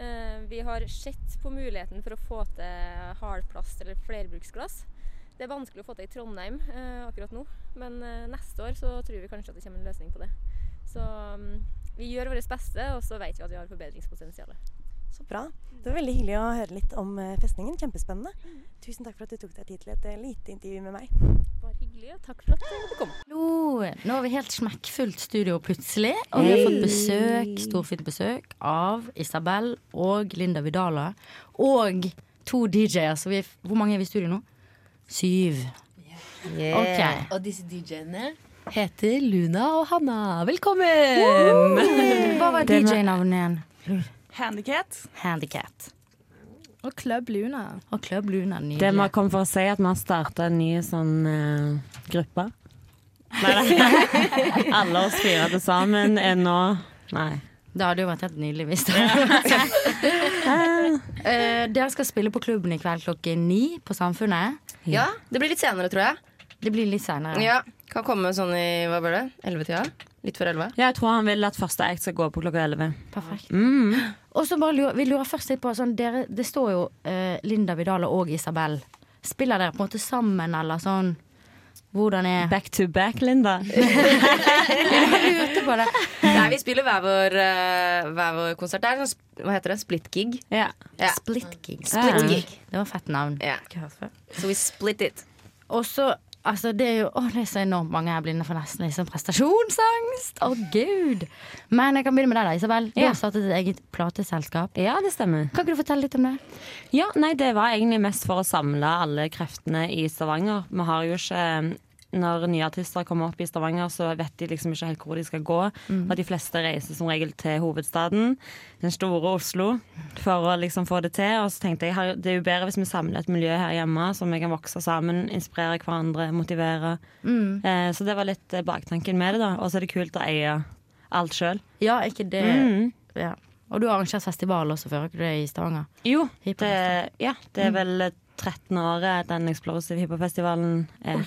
Eh, vi har sett på muligheten for å få til hardplast eller flerbruksglass. Det er vanskelig å få til i Trondheim eh, akkurat nå, men eh, neste år så tror vi kanskje at det kommer en løsning på det. Så mm, vi gjør vårt beste, og så vet vi at vi har forbedringspotensial.
Så bra. Det var veldig hyggelig å høre litt om eh, festningen. Kjempespennende. Tusen takk for at du tok deg tid til et eh, lite intervju med meg.
Bare hyggelig, og takk for at eh, du kom.
Hallo! Nå har vi helt smekkfullt studio plutselig. Og vi har fått besøk, storfint besøk av Isabel og Linda Vidala. Og to DJ-er. Så vi er, f- hvor mange er vi i studio nå? Syv. Ok.
Og disse DJ-ene heter Luna og Hanna. Velkommen!
Hva var
Den
DJ-navnet igjen?
Handicat.
Handicat.
Og Club Luna.
Og Club Luna, nydelig.
Det vi har kommet for å si, at vi har starta en ny sånn eh, gruppe. Nei, nei. (laughs) Alle oss fire til sammen er nå Nei.
Det hadde jo vært helt nydelig hvis det Eh, Dere skal spille på klubben i kveld klokken ni på Samfunnet.
Ja, det blir litt senere, tror jeg.
Det blir litt senere.
Ja, Kan komme sånn i hva blir det? 11-tida? Litt før 11?
Ja, jeg tror han vil at første act skal gå på klokka 11.
Perfekt.
Mm.
Og så bare lurer, vi lurer først litt på sånn, dere, Det står jo eh, Linda Vidal og Isabel. Spiller dere på en måte sammen, eller sånn? Hvordan er
Back to back, Linda.
lurte på det.
Nei, vi spiller hver vår, eh, hver vår konsert. Det er sånn, sp- hva heter det? Split gig. Ja.
Split gig.
Split gig.
Det var fett navn.
Så vi split it.
Og så Altså, det er jo å, det er så enormt mange her blinde for nesten liksom prestasjonsangst. Å, gud. Men jeg kan begynne med deg, da, Isabel. Du
Ja.
har startet et eget plateselskap.
Ja, det stemmer.
Kan ikke du fortelle litt om det?
Ja, nei, det var egentlig mest for å samle alle kreftene i Stavanger. Vi har jo ikke når nye artister kommer opp i Stavanger, så vet de liksom ikke helt hvor de skal gå.
Mm.
Og de fleste reiser som regel til hovedstaden, den store Oslo, for å liksom få det til. Og så tenkte jeg her- det er jo bedre hvis vi samler et miljø her hjemme, så vi kan vokse sammen, inspirere hverandre, motivere.
Mm.
Eh, så det var litt eh, baktanken med det, da. Og så er det kult å eie alt sjøl.
Ja, ikke det
Mm.
ja. Og du har arrangert festival også før, har ikke du det, i Stavanger?
Jo, det, ja, det er vel 13 år eh, den Explosive Hiphop-festivalen er.
det er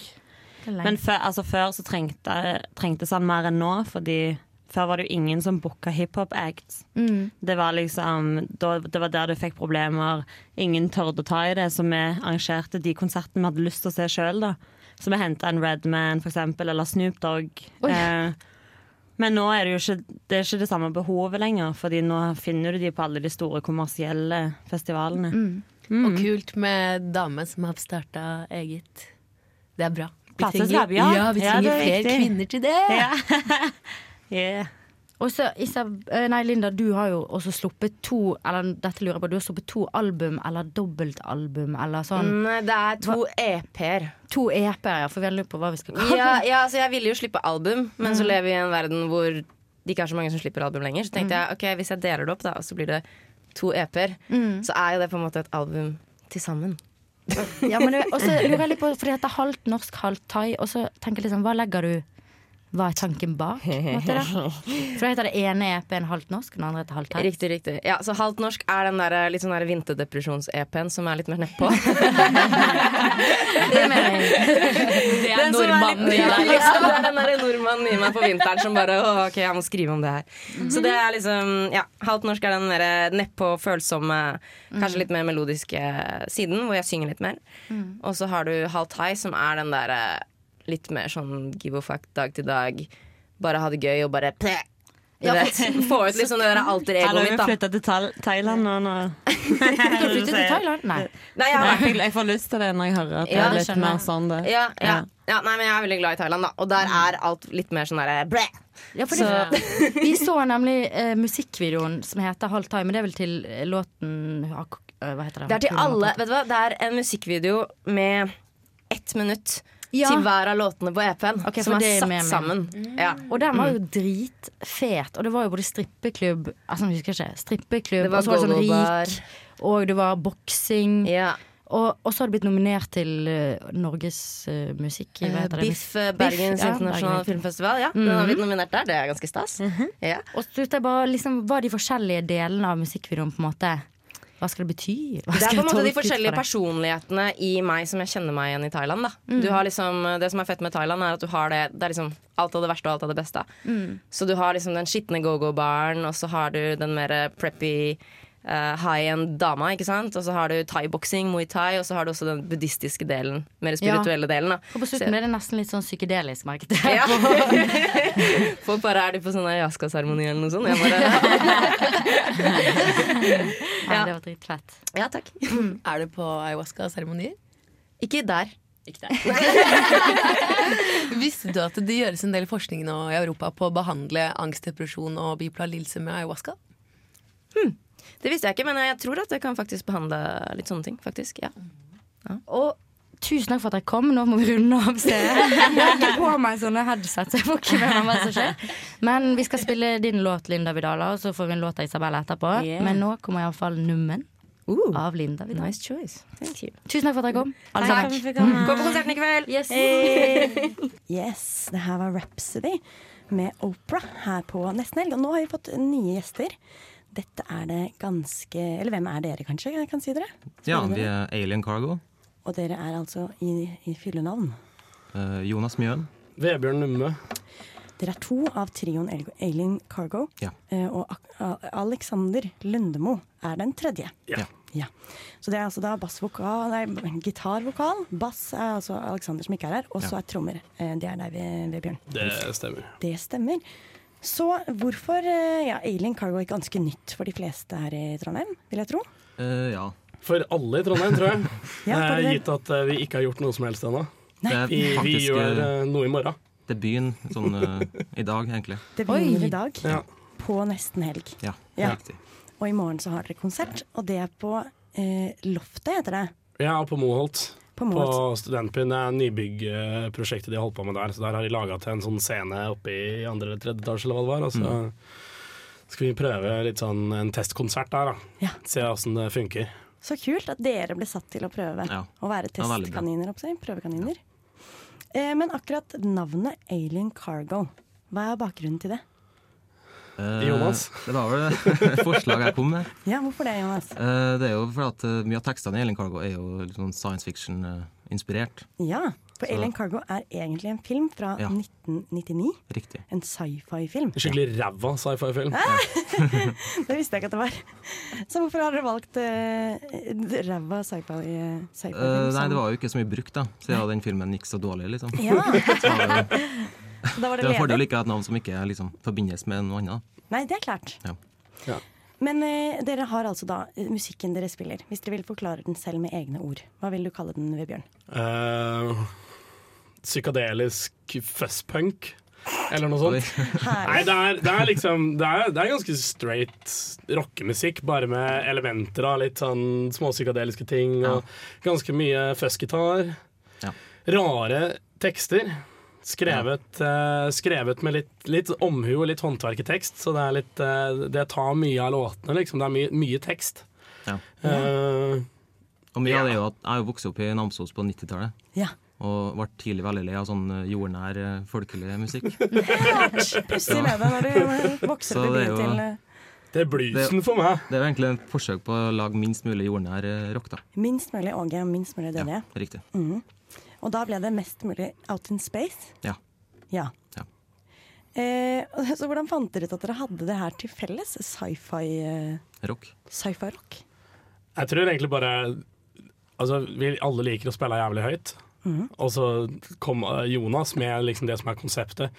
lenge.
Men før, altså før så trengte, trengtes han mer enn nå, fordi før var det jo ingen som booka hiphop-acts.
Mm.
Det var liksom da, Det var der du fikk problemer. Ingen tørde å ta i det, så vi arrangerte de konsertene vi hadde lyst til å se sjøl, da. Så vi henta en Redman, for eksempel, eller Snoop Dogg. Eh, men nå er det jo ikke det, er ikke det samme behovet lenger, Fordi nå finner du de på alle de store kommersielle festivalene.
Og kult med dame som har starta eget. Det er bra. Vi
Plateselskap, ja.
trenger, ja, vi
Ja, det
trenger
er
flere
viktig.
kvinner til det.
(laughs)
Og så, Isab eh, nei, Linda, du har jo også sluppet to Eller dette lurer jeg på, du har sluppet to album, eller dobbeltalbum, eller sånn.
Mm, Nei, det er to EP-er.
To EP-er, ja, for vi har lurt på hva vi skal kalle
Ja,
det.
ja, altså jeg ville jo slippe album, men så
Mm.
lever vi i en verden hvor det ikke er så mange som slipper album lenger. Så tenkte jeg ok, hvis jeg deler det opp, da, og så blir det to EP-er, så er jo det på en måte et album til sammen.
Ja, men det- Og så lurer jeg litt på, for det heter halvt norsk, halvt thai, og så tenker jeg liksom, hva legger du Hva er tanken bak? på en Måte, da? For da heter det ene EP-en halvt norsk, den andre heter halvt thai.
Riktig, riktig. Ja, så halvt norsk er den der, litt sånn der vinterdepresjons-EP-en som er litt mer nedpå.
det mener jeg.
(laughs) Det er
Den som
nordmannen
litt-
i deg,
(laughs) Ja,
liksom.
det er den der nordmannen i meg på vinteren som bare Å, OK, jeg må skrive om det her.
Mhm.
Så det er liksom Ja, halvt norsk er den mer nedpå, følsomme,
Mhm.
kanskje litt mer melodiske eh, siden, hvor jeg synger litt mer.
Mhm.
Og så har du halvt high, som er den der eh, litt mer sånn give a fuck dag til dag. Bare ha det gøy og bare pleh. Du
Ja.
vet, få ut liksom det der alter
Eller
egoet
vi
mitt, da.
flytta til Thail- Thailand nå. nå. Skal
flytte til Thailand?
Nei.
jeg har vært-
jeg, jeg får lyst til det når jeg hører at det
Ja,
er
det
litt
skjønner
mer
jeg.
sånn det.
Ja, ja. Mm. ja, nei, men jeg er veldig glad i Thailand, da. Og der er alt litt mer sånn derre blæ.
Ja, for det, vi så nemlig eh, musikkvideoen som heter Halv Thai, men det er vel til eh, låten eh, Hva heter den?
Det er til alle Vet du hva, det er en musikkvideo med ett minutt
Ja.
til hver av låtene på EP-en.
Ok, for
som
det
er
er
satt
med meg.
sammen. Ja.
Og den var jo
Mm.
dritfet, og det var jo både strippeklubb Altså, jeg husker ikke. Strippeklubb,
Det var
og så var det sånn
gogo-bar.
rik, og det var boksing. Og, og så har det blitt nominert til eh, Norges eh, musikk... Hva
Eh,
heter det?
Biff, eh, Bergens
ja,
internasjonale Mm. Mhm.
Bergen.
filmfestival. Ja, Den har
Mhm.
blitt nominert der. Det er ganske stas. ja.
Og så tenkte jeg bare, liksom, hva er de forskjellige delene av musikkvideoen, på en måte? Hva skal det bety? Hva
Det
skal
er på en
jeg
måte de
tolke ut fra
forskjellige
det?
personlighetene i meg som jeg kjenner meg igjen i Thailand. Da.
Mm.
Du har liksom, det som er fett med Thailand, er at du har det, det er liksom alt av det verste og alt av det beste.
Mm.
Så du har liksom den skitne go-go-baren, og så har du den mer preppy eh, high-end dama, ikke sant? Og så har du thai-boksing, muay thai, og så har du også den buddhistiske delen, mer spirituelle delen. Da.
Og på slutten ble det nesten litt sånn psykedelisk, merket jeg. (laughs)
Ja. For bare er du på sånn ayaska-seremoni eller noe sånt. Jeg
(laughs)
bare
Ja, det var dritfett.
Ja, takk.
Mm.
Er du på ayahuasca-seremonier?
Ikke der.
Ikke der. Visste du at det gjøres en del forskning nå i Europa på å behandle angst, depresjon og bipolar lidelse med ayahuasca?
Det visste jeg ikke, men jeg tror at det kan faktisk behandle litt sånne ting, faktisk. Ja.
Og tusen takk for at dere kom. Nå må vi runde av stedet. (laughs) Jeg har ikke på meg sånne headset, så jeg får ikke med meg hva som skjer. Men vi skal spille din låt, Linda Vidala, og så får vi en låt av Isabella etterpå.
Yeah.
Men nå kommer iallfall nummen av Linda Vidala.
Nice choice. Thank you.
Tusen takk for at dere kom. Alle
Takk
sammen.
for at vi fikk komme. Gå på konserten i kveld!
Yes.
yes, det her var Rhapsody med Opera her på Nesten Helg. Og nå har vi fått nye gjester. Dette er det ganske Eller hvem er dere, kanskje? Jeg kan si dere.
Ja, vi er Eh, Alien Cargo.
Og dere er altså i, i fyllenavn.
eh, Jonas Mjøen.
Vebjørn Numme.
Dere er to av trioen El- Alien Cargo.
Ja.
eh, Og Ak- A- Alexander Lundemo er den tredje.
Ja.
Ja. Så det er altså da bassvokal, nei, gitarvokal. Bass er altså Alexander som ikke er her, og så
Ja.
er trommer. Eh, Det er deg, Ve- Vebjørn.
Det
Eh,
stemmer.
Det stemmer. Så hvorfor eh, Ja, Alien Cargo er ganske nytt for de fleste her i Trondheim, vil jeg tro.
Eh, ja.
For alle i Trondheim, tror jeg.
(laughs) Ja, for
Eh,
det-
Gitt at eh, vi ikke har gjort noe som helst ennå.
Det er
Vi, vi
faktisk,
gjør
eh,
eh, noe i morgen.
Debuten sånn eh, i dag, egentlig.
Det begynner i dag,
Ja.
på nesten helg.
Ja,
Ja.
riktig.
Og i morgen så har dere konsert, og det er på eh, Loftet, heter det.
Ja, på Moholt.
På
På,
Moholt.
Studentbyen. Det er nybyggprosjektet de har holdt på med der. Så der har de laga til en sånn scene oppe i andre eller tredje etasje, eller hva det var. Og så
Mm.
skal vi prøve litt sånn en testkonsert der, da. Se åssen det funker.
Så kult at dere ble satt til å prøve
Ja.
å være
Det var veldig bra.
testkaniner. oppsett, Prøvekaniner. Eh, men akkurat navnet Alien Cargo, hva er bakgrunnen til det?
Eh,
Jonas?
Det var vel et forslag jeg kom med.
Ja, hvorfor det, Jonas?
Eh, det er jo fordi at eh, mye av tekstene i Alien Cargo er jo litt sånn science fiction-inspirert.
Ja, for
Så-
Alien Cargo er egentlig en film fra 1999.
Riktig.
En sci-fi-film.
Skikkelig ræva sci-fi-film.
Det visste jeg ikke at det var. (laughs) Så hvorfor har dere valgt uh, ræva sci-fi? sci
Eh, nei, det var jo ikke så mye brukt, da, siden den filmen gikk så dårlig, liksom. Så var
Ja.
(laughs) det-
Så da var
det
det
er en fordel å
ledig.
ikke ha et navn som ikke liksom, forbindes med noe annet.
Nei, det er klart.
Ja.
Men eh, dere har altså da eh, musikken dere spiller. Hvis dere vil forklare den selv med egne ord, hva vil du kalle den, Vebjørn?
Eh, psykadelisk fusspunk, eller noe sånt.
Herlig.
Nei, det er, det er liksom det er, det er ganske straight rockemusikk, bare med elementer av litt sånn småpsykadeliske ting. Og ganske mye fussgitar. Rare tekster. Skrevet, eh, skrevet med litt, litt omhu og litt håndverketekst, så det, er litt, eh, det tar mye av låtene, liksom. Det er mye, mye tekst.
Ja.
Eh,
Og mye av det er jo at jeg er jo vokst opp i Namsos på 90-tallet.
Ja.
Og ble tidlig veldig lei av sånn eh, jordnær, eh, folkelig musikk.
Pussig med deg når
(laughs)
du vokser
Så
opp i
det er
byen
jo-
til eh,
Det er bluesen for meg.
Det er jo egentlig et forsøk på å lage minst mulig jordnær eh, rock, da.
minst mulig Åge og minst mulig Dødje.
Riktig.
Mhm. Og da ble det mest mulig Out in Space.
Ja.
Ja. Eh, og så hvordan fant dere ut at dere hadde det her til felles? Sci-fi eh,
Rock.
sci-fi rock?
Jeg tror egentlig bare Altså, vi alle liker å spille jævlig høyt.
Mhm.
Og så kom eh, Jonas med liksom det som er konseptet.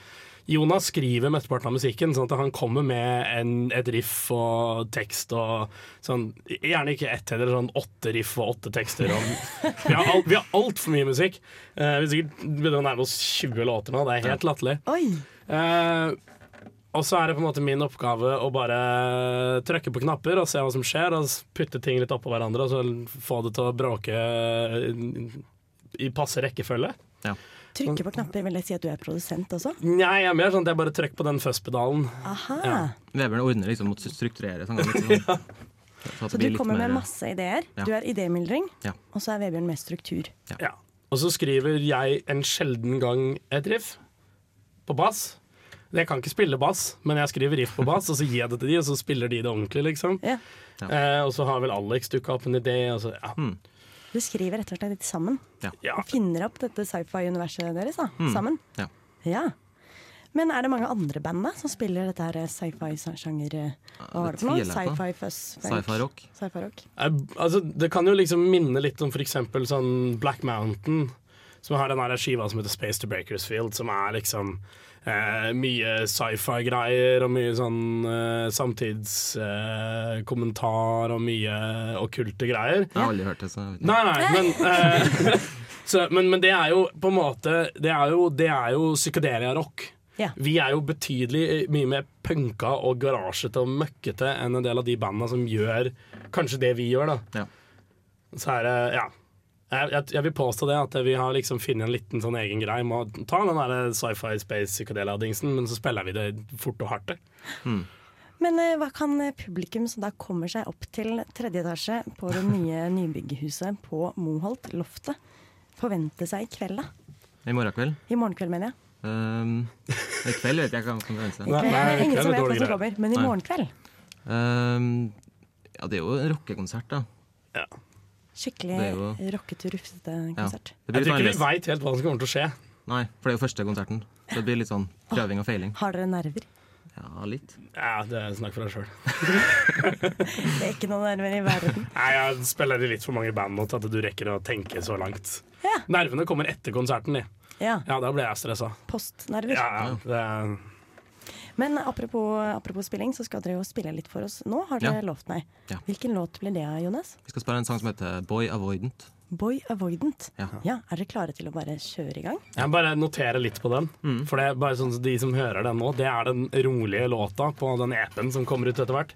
Jonas skriver mesteparten av musikken, sånn at han kommer med en, et riff og tekst og sånn Gjerne ikke ett heller, sånn åtte riff og åtte tekster. Og, vi har alt- vi har altfor mye musikk. Eh, vi sikkert begynner å nærme oss 20 låter nå, det er helt latterlig. Eh, og så er det på en måte min oppgave å bare trykke på knapper og se hva som skjer, og s- putte ting litt oppå hverandre og så få det til å bråke i passe rekkefølge.
Trykke på knapper, vil jeg si at du er produsent også?
Nei, jeg er mer sånn at jeg bare trykker på den fuzz-pedalen.
Aha.
Vebjørn ordner liksom mot strukturere sangene litt sånn. at det
Så
blir
du
litt
kommer med
mer-
masse ideer.
Ja.
Du er idémyldring,
Ja.
og så er Vebjørn med struktur.
Ja. Og så skriver jeg en sjelden gang et riff på bass. Jeg kan ikke spille bass, men jeg skriver riff på bass, og så gir jeg det til de, og så spiller de det ordentlig, liksom. Eh, og så har vel Alex dukka opp en idé, og så ja.
Du skriver rett og slett litt sammen.
Ja.
Og finner opp dette sci-fi-universet deres da,
Mm.
sammen.
Ja.
Ja. Men er det mange andre band da som spiller dette her eh, sci-fi-sjanger? eh, Hva var det for noe?
tviler jeg på.
Sci-fi fuzz? funk?
Sci-fi rock.
Sci-fi rock.
Eh, Altså, det kan jo liksom minne litt om for eksempel sånn Black Mountain, som har den her skiva som heter Space to Bakersfield, som er liksom eh, mye sci-fi-greier og mye sånn eh, samtidskommentar eh, kommentar og mye okkulte greier.
Jeg har aldri hørt det, så jeg vet ikke.
Nei, nei, men, eh, (laughs) så, men, men det er jo på en måte Det er jo, det er jo psykedelia-rock.
Ja.
Vi er jo betydelig mye mer punka og garasjete og møkkete enn en del av de bandene som gjør kanskje det vi gjør, da. Så er det, ja. Jeg, jeg, jeg vil påstå det, at vi har liksom funnet en liten sånn egen greie med å ta den der sci-fi space psykedelia-dingsen, men så spiller vi det fort og hardt. det.
Men eh, hva kan eh, publikum som da kommer seg opp til tredje etasje på det nye nybyggehuset på Moholt, Loftet, forvente seg i kveld, da?
I morgen kveld.
I morgen kveld, mener jeg.
Ehm, I kveld vet jeg ikke hva som kan vente.
I kveld er det ingen som vet hva som kommer, men i
Nei.
morgen kveld.
Ehm, ja, det er jo en rockekonsert, da.
Skikkelig
Det er jo-
rockete, rufsete
Ja.
konsert.
Det blir sånn
Jeg tror ikke
litt
vi veit helt hva som kommer til å skje.
Nei, for det er jo første konserten. Så det blir litt sånn prøving og feiling.
Har dere nerver?
Ja, litt.
Ja, det er snakk for deg sjøl.
Det er ikke noen nerver i
(laughs)
verden.
Nei, jeg spiller i litt for mange band nå til at du rekker å tenke så langt. Nervene kommer etter konserten, de.
Ja.
Ja, da ble jeg stressa.
Postnerver.
Ja, ja, det er
Men apropos, apropos spilling, så skal dere jo spille litt for oss nå, har dere
Ja.
lovt meg.
Ja.
Hvilken låt blir det, Jonas?
Vi skal spille en sang som heter Boy Avoidant.
Boy Avoidant.
Ja.
Ja, er dere klare til å bare kjøre i gang?
Jeg må bare notere litt på den. For det er bare sånn at De som hører den nå, det er den rolige låta på den EP-en som kommer ut etter hvert.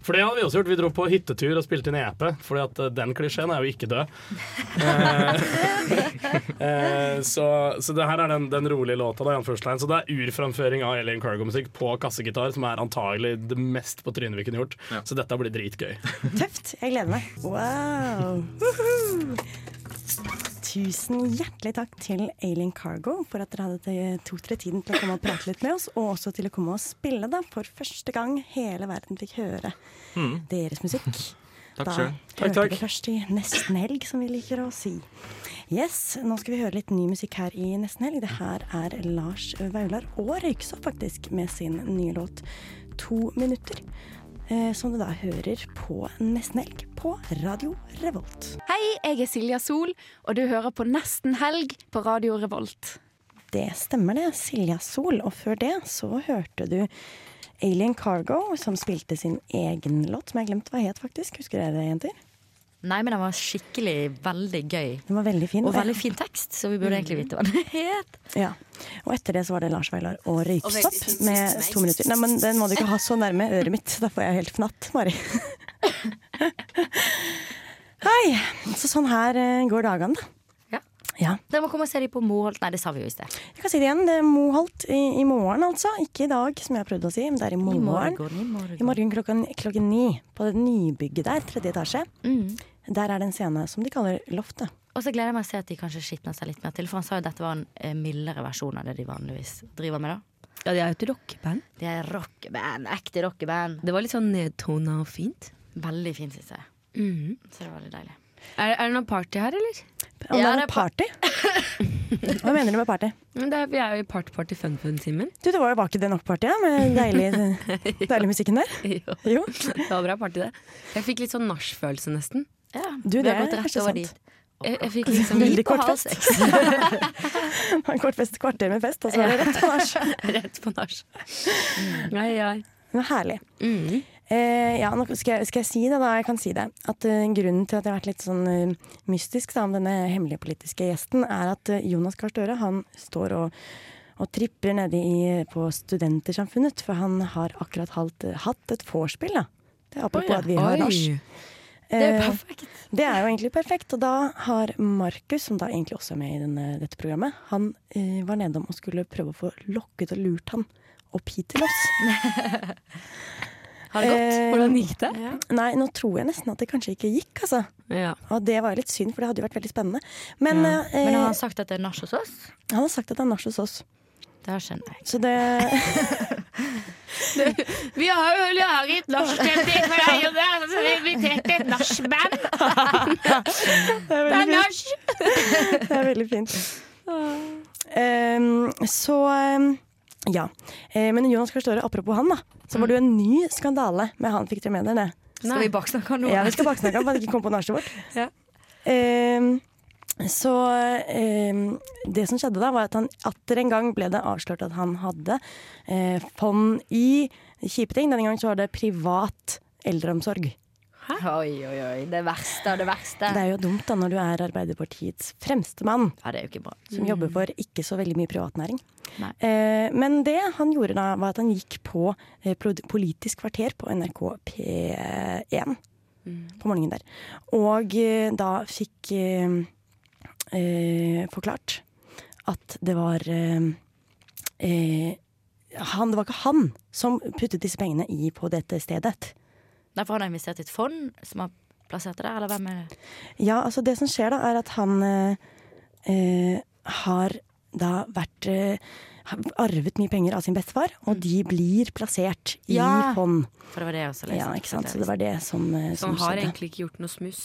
For det hadde vi også gjort. Vi dro på hyttetur og spilte inn EP, Fordi at eh, den klisjeen er jo ikke død. Eh, (laughs) eh, så, så det her er den, den rolige låta, da, i anførselstegn. Så det er urframføring av Alien Cargo-musikk på kassegitar, som er antagelig det mest på trynet vi kunne gjort. Så dette blir dritgøy.
Tøft. Jeg gleder meg. Wow! Woohoo! Tusen hjertelig takk til Alien Cargo for at dere hadde te- tok dere tiden til å komme og prate litt med oss, og også til å komme og spille da, for første gang hele verden fikk høre deres musikk.
Mm. Takk
da
selv.
hørte
Takk, takk.
vi først i Nesten Helg, som vi liker å si. Yes, Nå skal vi høre litt ny musikk her i Nesten Helg. Det her er Lars Vaular og Røyksopp faktisk med sin nye låt 'To minutter', eh, som du da hører på Nesten Helg på Radio Revolt.
Hei, jeg er Silja Sol, og du hører på Nesten helg på Radio Revolt.
Det stemmer det. Silja Sol. Og før det så hørte du Alien Cargo, som spilte sin egen låt, som jeg har glemt hva het, faktisk. Husker dere det, jenter?
Nei, men den var skikkelig veldig gøy.
Den var veldig fin.
Og veldig Mm. fin tekst, så vi burde egentlig vite hva den het.
Ja. Og etter det så var det Lars Veilar og
Og
Røyksopp
veldig fint.
med to minutter. Nei, men den må du ikke ha så nærme øret mitt, da får jeg helt fnatt, Mari. (laughs) Hei. Så sånn her eh, går dagene, da. Ja.
Dere må komme og se dem på Moholt. Nei, det sa vi jo i sted.
Jeg kan si det igjen. Det er Moholt i, i morgen, altså. Ikke i dag, som jeg har prøvd å si, men det er i morgen.
i morgen.
I morgen klokken, klokken ni, på det nybygget der, tredje etasje. Der er det en scene som de kaller Loftet.
Og så gleder jeg meg å se at de kanskje skitner seg litt mer til. For han sa jo at dette var en eh, mildere versjon av det de vanligvis driver med, da.
Ja, de er jo et rockeband.
Det er rockeband. Ekte rockeband.
Det var litt sånn nedtona og fint.
Veldig fint, syns jeg. Så det var veldig deilig.
Mhm. Er, er det noe party her, eller?
Om det er et party? Hva mener du med party?
Men det er, vi er jo i party-party fun-fun-timen.
Du, det var jo bak i det nok-partiet med deilig,
(laughs)
deilig musikken der.
Jo.
Jo.
Det var bra party, det. Jeg fikk litt sånn nachfølelse, nesten.
Du,
Vi
det
har gått
er
rett
kanskje
over
sant.
dit. Jeg, jeg fikk liksom
Veldig
på
kort
halv
fest.
seks.
(laughs) En kort fest, kvarter med fest, og så er det rett på nach.
(laughs) rett på nach. Ai, ai.
Men herlig.
Mm.
Eh, ja, nå skal, jeg, skal jeg si det, da? Jeg kan si det. At eh, Grunnen til at jeg har vært litt sånn eh, mystisk da, om denne hemmelige politiske gjesten, er at eh, Jonas Gahr Støre han står og, og tripper nede i, på Studentersamfunnet, for han har akkurat hatt, hatt et vorspiel. da. Det er apropos
Oi, ja.
at vi har
Oi.
nach.
Det er jo
Eh,
perfekt.
Det er jo egentlig perfekt. Og da har Markus, som da egentlig også er med i denne, dette programmet, han eh, var nedom og skulle prøve å få lokket og lurt han opp hit til oss.
Har det gått?
Eh,
Hvordan gikk det?
Nei, nå tror jeg nesten at det kanskje ikke gikk, altså.
Ja.
Og det var jo litt synd, for det hadde jo vært veldig spennende. Men,
Ja.
eh,
Men har han sagt at det er nach hos oss?
han har sagt at han er nach hos oss.
Det har skjønner jeg.
Så det
(laughs) Vi har jo laget norskstemning for deg, Jonas. Så sånn vi inviterte et nachband.
Det
Det er
veldig
nach!
fint. Det er veldig fint. Ehm, så ehm, ja. Eh, men Jonas Gahr Støre, apropos han, da. Så var det jo en ny skandale med han, fikk dere med dere det?
Skal vi baksnakke han nå?
Ja, vi skal baksnakke han, for at det ikke kom på nachet vårt. Ehm, så ehm, det som skjedde da, var at han atter en gang ble det avslørt at han hadde eh, fond i kjipe ting. Denne gangen så var det privat eldreomsorg.
Oi, oi, oi. Det verste av det verste.
Det er jo dumt da når du er Arbeiderpartiets fremste mann.
Ja, det er jo ikke bra.
Som
Mm.
jobber for ikke så veldig mye privatnæring.
Nei.
Eh, men det han gjorde da, var at han gikk på eh, Pro- Politisk kvarter på NRK
Mm.
P1 på morgenen der. Og eh, da fikk eh, eh, forklart at det var eh, eh, han, Det var ikke han som puttet disse pengene i på dette stedet.
Nei, for han har investert i et fond som har plassert det der, eller hvem er det?
Ja, altså det som skjer da, er at han eh, eh, har da vært eh, har arvet mye penger av sin bestefar, og de blir plassert
Mm.
i
Ja.
fond.
For det var det jeg også leste.
Ja, ikke sant? Så det var det som, eh,
Så
som
han har
skjedde.
egentlig ikke gjort noe smuss.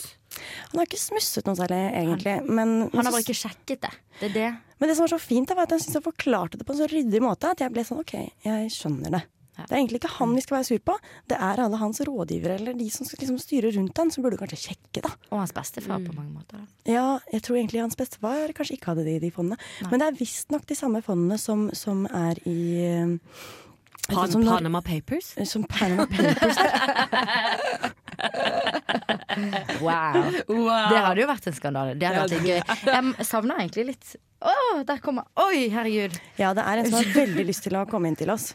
Han har ikke smusset noe særlig, egentlig. Men,
Han har bare ikke sjekket det. Det er det.
Men det som var så fint, da, var at han syntes han forklarte det på en så ryddig måte at jeg ble sånn OK, jeg skjønner det. Det er egentlig ikke han vi skal være sur på, det er alle hans rådgivere eller de som skal liksom styre rundt han, som burde kanskje sjekke, da.
Og hans bestefar
Mm.
på mange
(laughs)
måter. Da.
Ja, jeg tror egentlig hans bestefar kanskje ikke hadde det i de fondene. Men det er visstnok de samme fondene som, som er i eh,
Pan-
som Nor-
Panama Papers?
Som Panama Papers.
Wow.
Wow.
Det hadde jo vært en skandale. Det hadde
Ja,
vært litt gøy. Jeg savner egentlig litt Å, der kommer Oi, herregud.
Ja, det er en som har veldig lyst til å komme inn til oss.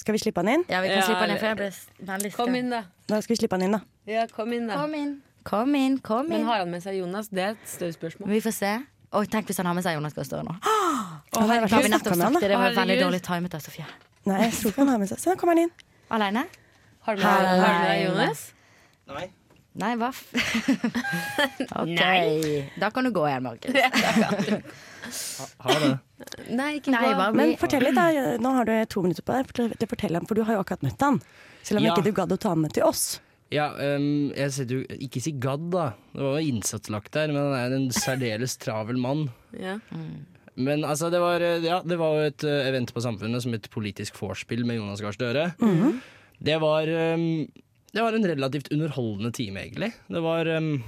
Skal vi slippe han inn?
Ja, vi kan slippe han inn, for jeg ble veldig
Kom inn, da.
Da skal vi slippe han inn, da.
Ja, kom inn, da.
Kom inn. Kom inn, kom
Men
inn.
har han med seg Jonas? Det er et større spørsmål.
Vi får se. Oi, tenk hvis han har med seg Jonas Gahr Støre nå.
Å,
Har
herregud.
vi nettopp sagt det? Det var veldig
Herregud.
dårlig timet av Sofie.
Nei, jeg tror ikke han har med seg. Se, nå kommer han inn.
Aleine?
Har
du med- har du med Jonas?
Nei. Nei, hva (laughs) f... OK.
Nei.
Da kan du gå igjen, Markus.
Ha det.
Nei, ikke
Nei, hva-
Men fortell litt, da. Nå har du to minutter på deg fortell- til å fortelle ham, for du har jo akkurat møtt han. Selv om
Ja.
ikke du gadd å ta han med til oss.
Ja, ehm, jeg setter jo ikke si gadd, da. Det var jo innsatslagt der, men han er en særdeles travel mann.
Ja.
Men altså, det var, eh, ja, det var jo et eh, event på Samfunnet som et politisk vorspiel med Jonas Gahr Støre.
Mhm.
Det var ehm, Det var en relativt underholdende time, egentlig. Det var ehm,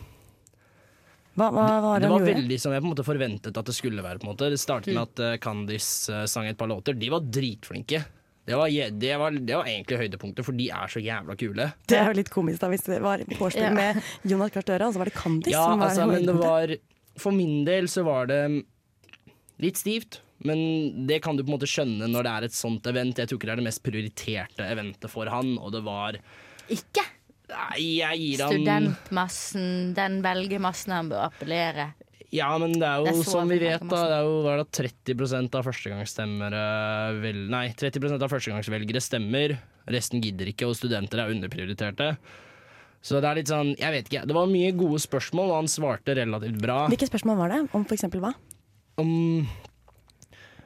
Hva, hva, hva var
det
det han
var
gjorde?
veldig som jeg på en måte forventet at det skulle være. på en måte. Det startet med at eh, Candice eh, sang et par låter. De var dritflinke. Det var, je- det, var, det var egentlig høydepunktet, for de er så jævla kule.
Det er jo litt komisk da, hvis det var vorspiel
Ja.
med Jonas Gahr Støre, og så var det Kandis
Ja,
som var
altså, men det
hovedpunktet.
var For min del så var det litt stivt. Men Mm, det kan du på en måte skjønne når det er et sånt event. Jeg tror ikke det er det mest prioriterte eventet for han, og det var
Ikke?
Nei, jeg gir han
Studentmassen, den velgermassen han bør appellere.
Ja, men det er jo
Det er så
som vi vet,
mange
da. Det er jo hva er det, 30 av førstegangsstemmere vel, Nei, 30 av førstegangsvelgere stemmer. Resten gidder ikke, og studenter er underprioriterte. Så det er litt sånn, jeg vet ikke. Det var mye gode spørsmål, og han svarte relativt bra.
Hvilke spørsmål var det? Om for eksempel hva?
Om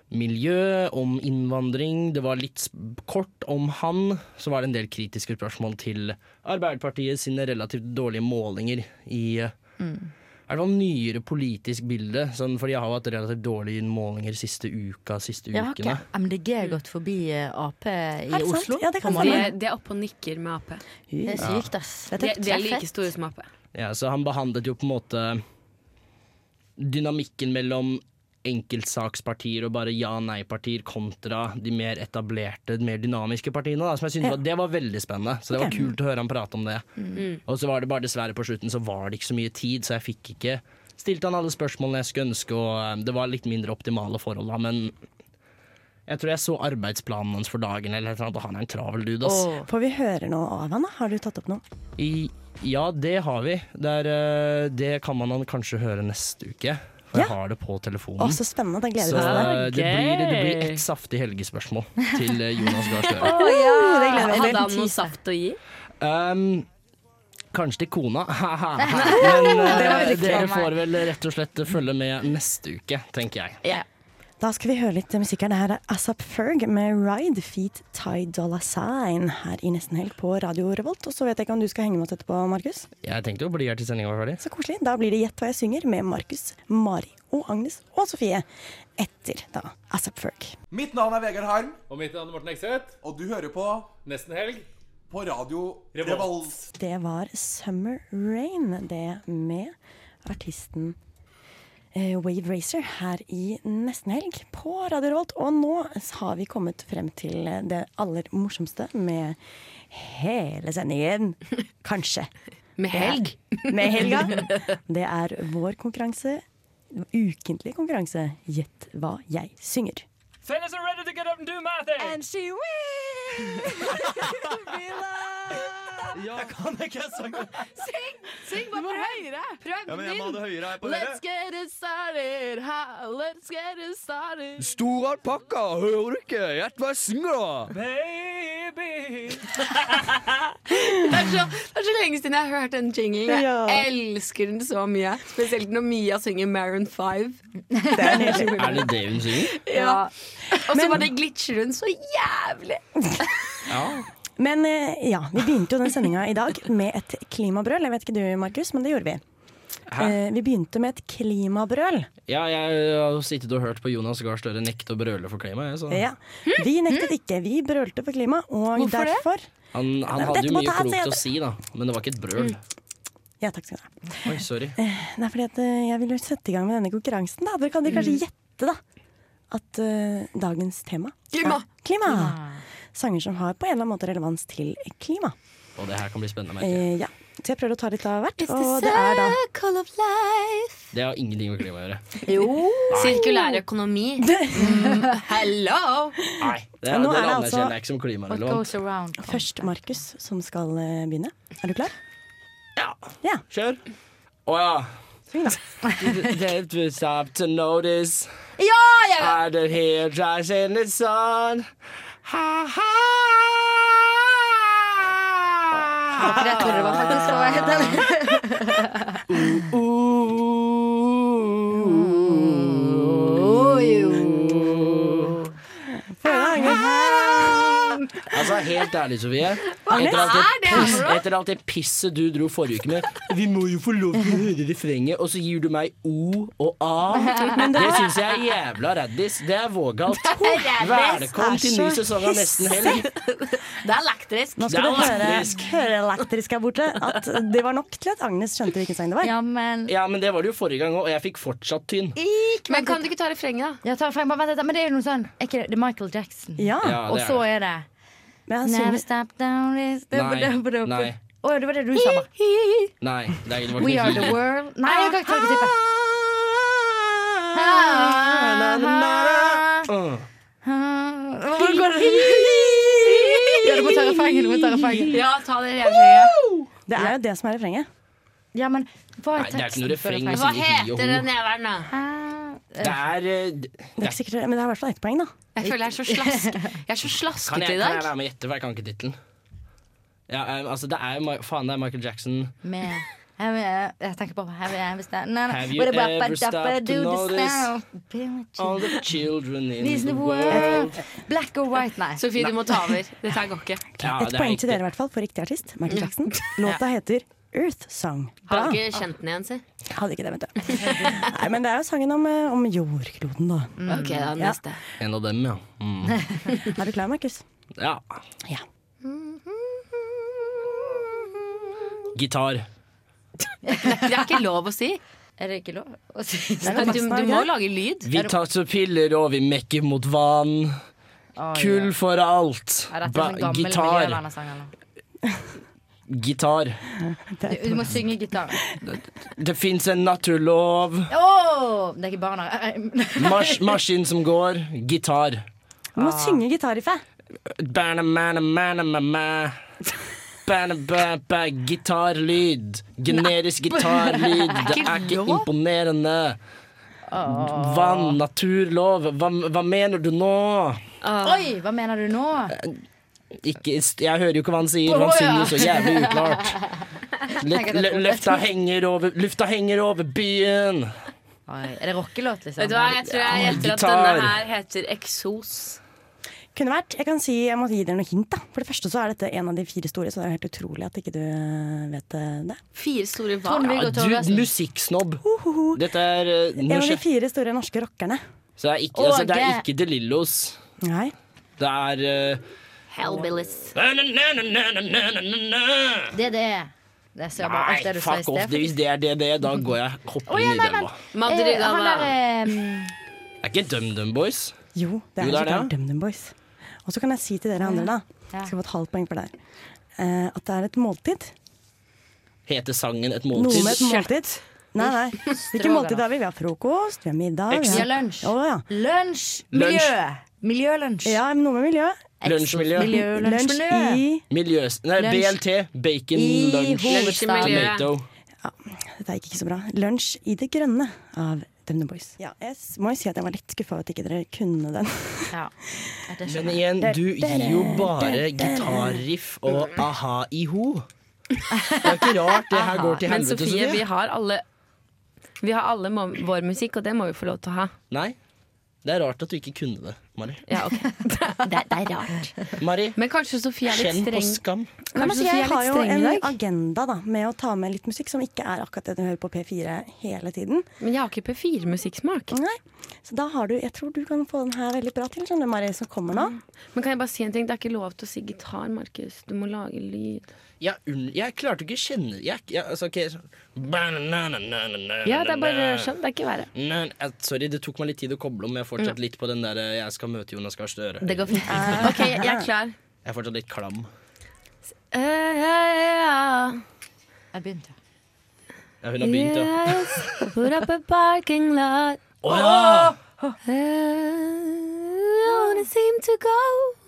miljø, om innvandring. Det var litt sp- kort om han. Så var det en del kritiske spørsmål til Arbeiderpartiet sine relativt dårlige målinger i eh, i hvert fall nyere politisk bilde, sånn, for de har jo hatt relativt dårlige målinger siste uka, siste
Ja, har
ukene.
ikke MDG gått forbi eh, Ap i
Er det sant?
Oslo?
Ja, det kan
på
stemme.
måten?
De er oppe og nikker med Ap.
Det er sykt, ass.
De, de er like store som Ap.
Ja, så han behandlet jo på en måte dynamikken mellom enkeltsakspartier og bare ja-nei-partier kontra de mer etablerte, mer dynamiske partiene. Da, som jeg synes
Ja.
var, Det var veldig spennende, så det var
Ok.
kult å høre han prate om det.
Mm.
Og så var det bare dessverre på slutten så var det ikke så mye tid, så jeg fikk ikke stilt han alle spørsmålene jeg skulle ønske, og eh, det var litt mindre optimale forhold da, men jeg tror jeg så arbeidsplanen hans for dagen, eller et eller annet, og han er en travel dude, ass.
Får vi høre noe av han da? Har du tatt opp noe?
I, ja, det har vi. Det, er, eh, det kan man kanskje høre neste uke. For jeg har det på telefonen.
Å, så spennende. Da gleder
Så,
vi oss til det.
eh, det. blir, det blir ett saftig helgespørsmål til eh, Jonas Gahr
(laughs)
Støre.
Å, ja. Det gleder jeg meg til.
Hadde han noe saft å gi?
Um, kanskje til kona, (laughs) men
Det var
eh,
riktig av
dere
meg.
får vel rett og slett følge med neste uke, tenker jeg.
Da skal vi høre litt musikk her. Det her er Asap Ferg med Ride Feet Ty Dolla Sign her i Nesten Helg på Radio Revolt. Og så vet jeg ikke om du skal henge med oss etterpå, Markus.
Jeg tenkte jo å bli her til sendinga var ferdig.
Så koselig. Da blir det Gjett hva jeg synger med Markus, Mari og Agnes og Sofie. Etter da Asap Ferg.
Mitt navn er Vegard Harm. Og mitt navn er Morten Ekseth. Og du hører på Nesten Helg på radio Revolt.
Det var Summer Rain, det med artisten eh, Wave Racer her i nesten helg på Radio Revolt. Og nå har vi kommet frem til det aller morsomste med hele sendingen. Kanskje.
Med helg.
Det er- Med helga. Det er vår konkurranse. Ukentlig konkurranse. Gjett hva jeg synger.
Fellas are ready to get up and do my thing. And she wins.
Jeg kan ikke synge.
Syng! Syng, bare prøv! Prøv
Ja, men jeg må ha det høyere her på dere.
Let's get it started, ha, let's get it started.
Stor alpakka, hører du ikke? Gjett hva jeg synger, da!
Baby! det, er så, det er så lenge siden jeg har hørt den jinglen. Jeg
Ja.
elsker den så mye. Spesielt når Mia synger Maroon 5.
Er det det hun synger?
(laughs)
Ja. Og så bare glitcher hun så jævlig.
Men eh, ja, vi begynte jo den sendinga i dag med et klimabrøl. Jeg vet ikke du, Markus, men det gjorde vi.
Hæ?
Eh, Vi begynte med et klimabrøl.
Ja, jeg har jo sittet og hørt på Jonas Gahr Støre nekte å brøle for klimaet. jeg, Så.
Ja. Vi nektet ikke. Vi brølte for klima, og
Hvorfor det?
derfor
Han, han
Nei,
hadde
dette
jo
må
mye
ta her, sier
klokt
jeg.
å si, da, men det var ikke et brøl.
Ja, takk skal du ha.
Oi, sorry.
Eh, Nei, fordi at eh, jeg ville sette i gang med denne konkurransen. Da. Dere kan dere kanskje gjette da at eh, dagens tema
Klima.
er klima. Sanger som har på en eller annen måte relevans til klima.
Og det her kan bli spennende. merker jeg.
Eh, ja. Så jeg prøver å ta litt av hvert.
It's the
Og det er da
circle of life.
Det har ingenting med klima å gjøre.
Jo.
Sirkulær økonomi.
Hello!
Nei, det er,
Nå er
dere
det altså-
anerkjenner jeg ikke som klimarelevant.
først Markus som skal eh, begynne. Er du klar?
Kjør. Å ja. It was up to notice.
Ja, jeg
I did hear drives in the sun. Ha-ha!
Jeg tror det var faktisk hva jeg
(laughs) Altså, helt ærlig, Sofie.
Hva
Etter alt det,
er det her
piss,
for noe?
etter alt det pisset du dro forrige uke med Vi må jo få lov til å høre refrenget, og så gir du meg O og A.
Men det-
Det syns jeg er jævla raddis. Det er vågalt. Velkommen til ny sesong av Nesten helg.
Det er elektrisk.
Nå skal du høre, høre elektrisk her borte at det var nok til at Agnes skjønte hvilken sang det var.
Ja, men
Ja, men det var det jo forrige gang òg, og jeg fikk fortsatt tynn.
Men kan du ikke ta refrenget, da? Ja, ta refrenget, bare vent litt, Men det er jo noe sånn er ikke det, det er Michael Jackson.
Ja, det er
Og så er det Never stop down this
Nei. Nei.
Å, det var det du sa, Mark.
Nei, det er- det var
We
ikke
are
(laughs)
the world Nei, jeg kan ikke jeg kan ikke tippe.
Ah, Uh. ah.
Hvordan går det? Ja, du må ta refrenget. Du må ta refrenget.
Ja, ta det refrenget.
Det er jo det som er refrenget.
Ja, men hva
Nei,
er
det er ikke
teksten?
noe refreng. liksom. vi
Hva
synger hi og
heter
ho.
den jævelen, da?
Det er eh, d-
Det er ikke sikkert, men det er i hvert fall ett poeng, da.
Jeg føler jeg er så slask Jeg er så
kan,
slaskete
jeg,
i
kan jeg
dag.
være med og gjette, for jeg kan ikke tittelen? Ja, eh, altså, det er jo Ma- Faen, det er Michael Jackson.
Med Have you- Jeg tenker på Have you ever stopped Nei, nei.
Have you
What about
ever
that
stopped to
do this
notice
now? Be with you.
All the children in
These
the
in the
world.
world. Black or white, nei.
Sofie, du må ta over. Dette her går ikke.
Ja,
Ett poeng til dere i hvert fall for riktig artist. Michael Jackson. Låta heter Earth Song. Bra.
Har ikke kjent den igjen, si.
Hadde ikke det, vet du. Nei, men det er jo sangen om, eh, om jordkloden, da.
Mm.
Ok, da,
Mm. Ja.
neste.
En av dem, ja. Mm.
Er du klar, Markus?
ja.
Ja.
Gitar.
Det er ikke lov å si.
Er det ikke lov å si?
Du, du må lage lyd.
Vi tar så piller, og vi mekker mot vann. Kull for alt.
Ja, dette er
Ba
sånn gammel
gitar.
miljøvernersang, eller?
Gitar.
Du, du må synge gitar.
Det fins en naturlov.
Åh, det er ikke barna. (laughs)
Mars, maskin som går. Gitar.
Du må synge gitarriffet.
Bana, mana, mana, mama. Bana, ba, ba, gitarlyd. Generisk
Nei.
(laughs)
gitarlyd.
Det er
Det
ikke
er ikke
lov.
imponerende. Vann, naturlov. Hva, hva mener du nå?
Oi, hva mener du nå?
Ikke, jeg hører jo ikke hva han sier. Han synger så jævlig
(laughs)
uklart. Lø- lø- Løfta henger over, lufta henger over byen.
Er det rockelåt, liksom?
Vet du hva, jeg tror jeg gjetter at
Gitar.
denne her heter eksos.
Kunne vært. Jeg kan si, jeg må gi dere noe hint. da For det første så er dette en av de fire store, så det er helt utrolig at ikke du vet eh, det.
Fire store hva?
Ja, du, musikksnobb. Dette er eh,
En av de
norsk.
fire store norske rockerne.
Så det er ikke, altså, det er
Åge.
ikke De Lillos.
Nei.
Det er eh,
Hellbillies.
Det er det. Det er så bra.
Nei,
Alt det du sa i
fuck off.
sted.
Det, hvis det er det, det, da går jeg hopper
Å, ja,
inn i
nei,
elva.
men, eh, han der
Det er ikke DumDum Boys.
Jo, det
Jo, det er
er så klart
det, ja.
DumDum Boys. Og så kan jeg si til dere andre, da,
Ja.
skal få et halvt poeng for det her, eh, at det er et måltid.
Heter sangen Et
Noe
måltid?
med et måltid. Nei, nei. Hvilket måltid har vi? Vi har frokost, vi har middag.
Eks.
Vi har lunsj.
Å, ja.
Lunsj.
Lunsj.
Miljø. Miljølunsj.
Ja, men noe med miljø.
Lunsjmiljø.
Lunsjmiljø, lunsjmiljø.
i-
Miljøs... Nei,
Lunsj.
BLT. Bacon
I
lunch.
hovedstaden.
Tomato.
Dette gikk ikke så bra. Lunsj i det grønne av Dem The Boys. Ja, jeg s- må jo si at jeg var litt skuffa over at ikke dere kunne den.
Men igjen, du gir jo bare gitarriff og aha-iho. Det er ikke rart det her går til
Men
helvete,
Sofie, vi
Sofie.
har alle Vi har alle må- vår musikk, og det må vi få lov til å ha.
Nei, det er rart at du ikke kunne det, Mari.
Ja, ok. det, er rart.
Mari,
Men kanskje Sofie er litt
kjenn på
streng.
skam.
Nei, men
Kanskje
altså,
Sofie
jeg
er
har
litt
jo
streng
en
i dag.
agenda da, med å ta med litt musikk som ikke er akkurat det du hører på P4 hele tiden.
Men jeg har ikke P4-musikksmak.
Nei, Så da har du Jeg tror du kan få den her veldig bra til, skjønner du, Mari, som kommer nå.
Men kan jeg bare si en ting? Det er ikke lov til å si gitar, Markus. Du må lage lyd.
Jeg, unn- jeg klarte ikke å kjenne jeg, jeg, altså, ok, så-
Ja, det er bare skjønt. Det er ikke verre.
Nei, eh, sorry, det tok meg litt tid å koble om. Jeg er fortsatt litt på den der eh, 'jeg skal møte Jonas Gahr Støre'.
Det går fint.
Ah.
OK, jeg er klar.
Jeg er fortsatt litt klam.
Jeg begynte.
Ja, hun har begynt, ja.
Yes, put up a parking lot.
Å ja!
(laughs) Don't seem to go,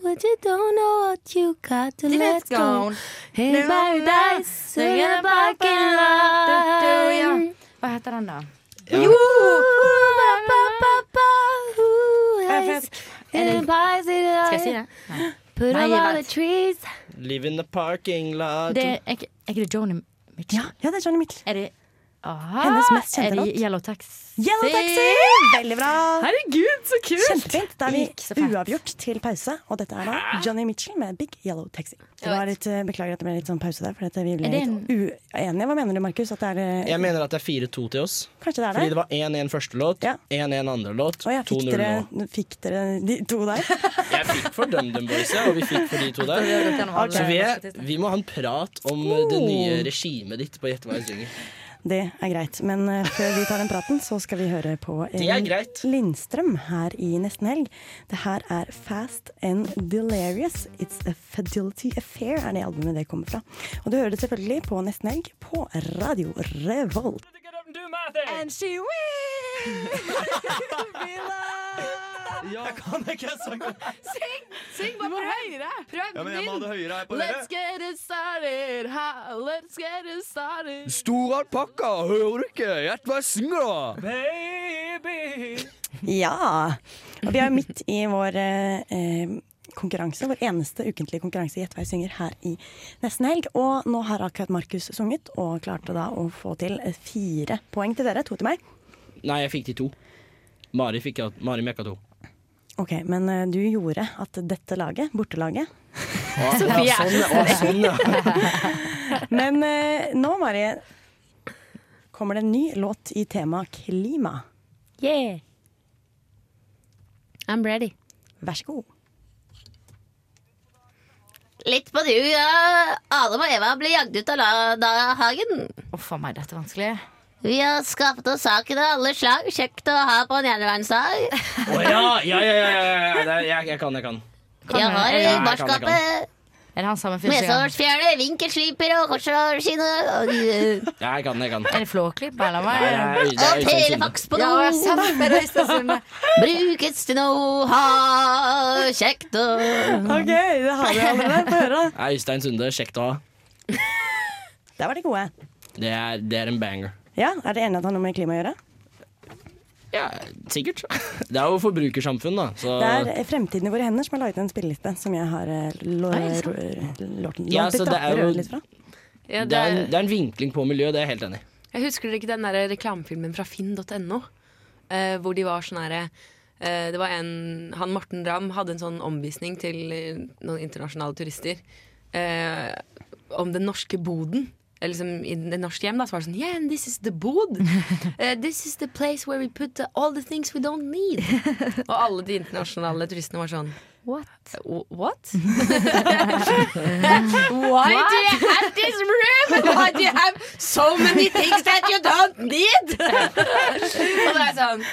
but you don't know what you got to let go. In paradise, in a parking lot.
Hva heter den, da?
Jo! Skal
Skal jeg si det? Nei.
Put
Nei,
up
jeg
all the
vet.
trees.
Live in the parking lot.
Det, er, ikke- er ikke det Joni Mitchell? Ja,
det er Joni Mitchell.
Er det, aha,
Hennes mest kjente
er det
låt.
Yellow Taxi?
Yellow Taxi! Veldig bra.
Herregud, så kult!
Kjempefint. Da er
Gikk så
vi
fett.
uavgjort til pause, og dette er da Johnny Mitchell med Big Yellow Taxi. Det var litt, eh, beklager at det ble litt sånn pause der, for dette, vi
Er
ble
det
litt uenige. Hva mener du, Markus? At det er eh,
Jeg mener at det er 4-2 til oss.
Kanskje det er det?
Fordi det var 1-1 første låt, 1-1 andre låt,
Fikk
2-0 nå.
dere, fikk dere de to der?
Jeg fikk for DumDum Boys, ja, og vi fikk for de to
(laughs)
der.
Ok.
Så vi, er, vi må ha en prat om eh, det
Oh.
nye regimet ditt på Gjett hva jeg synger.
Det er greit, men eh, før vi tar den praten, så skal vi høre på
Det er
Elin Lindstrøm her i Nesten Helg. Det her er Fast and Delirious. It's a Fidelity Affair er det albumet det kommer fra. Og du hører det selvfølgelig på Nesten Helg på Radio Revolt.
And she (laughs)
Jeg kan ikke synge.
Syng! Syng bare høyere! Prøv
Ja, men jeg må ha det høyere her på dere.
Let's get it started, ha, let's get it started.
Stor alpakka, hører du ikke? Gjett hva jeg synger, da!
Baby!
Ja! Og vi er midt i vår eh, eh, konkurranse, vår eneste ukentlige konkurranse i Gjett hva jeg synger her i nesten helg. Og nå har akkurat Markus sunget, og klarte da å få til eh, fire poeng til dere, to til meg.
Nei, jeg fikk de to. Mari, fikk, jeg- Mari mekka
(laughs)
to.
Ok, Men eh, du gjorde at dette laget, bortelaget
Å,
Sofie
ja,
er
sånn, ja. Å,
så
sånn, ja.
Men eh, nå, Mari, kommer det en ny låt i tema klima.
Yeah. I'm ready.
Vær så god.
Litt på du, ja. Adam og Eva ble jagd ut av la- da- hagen.
Å, faen meg, dette er vanskelig.
Vi har skaffet oss saken av alle slag. Kjekt å ha på en jernvernsdag.
Å ja, ja, ja, ja, ja, ja. Det er- Jeg, jeg kan, jeg kan.
Jeg
du-
har
er
i
det-
barskapet
Er det han samme fyren som gjør-
mesehårsfjerne, vinkelsliper og korsårskinne
(laughs)
og de-
Ja, jeg kan, jeg kan.
Er det Flåklypa, eller hva?
Nei, det er
Og
Øystein
telefaks på do.
sånn Ja, jeg sa det, det er Øystein Sunde.
Brukes til noe, ha kjekt å
Ok, det har vi allerede. Få høre. (laughs)
Sunde. Nei, Øystein Sunde, kjekt å ha.
Der var de gode.
Det er, det er en banger.
Ja, Er dere enige at det har noe med klima å gjøre?
Ja, sikkert. (laughs) Det er jo forbrukersamfunn, da. Så
Det er eh, Fremtiden i våre hender som har laget en spilleliste som jeg har eh, lo-
Oi, sant.
ro- låten-
Ja,
lånt
så det
litt da,
er jo-
røvet litt fra.
Ja,
det, er en, det er en vinkling på miljø, det er jeg helt enig i.
Jeg husker dere ikke den der reklamefilmen fra finn.no? Eh, hvor de var sånn herre eh, Det var en Han Morten Ramm hadde en sånn omvisning til eh, noen internasjonale turister eh, om den norske boden. Eller liksom I det norske hjem da, så var det sånn Yeah, and this is the bod. Eh, this is the place where we put the, all the things we don't need. (laughs) Og alle de internasjonale turistene var sånn
What?
(laughs) What?
Why do you have this
(laughs)
room? Why do you have so many things that you don't
(laughs)
need? Og det er sånn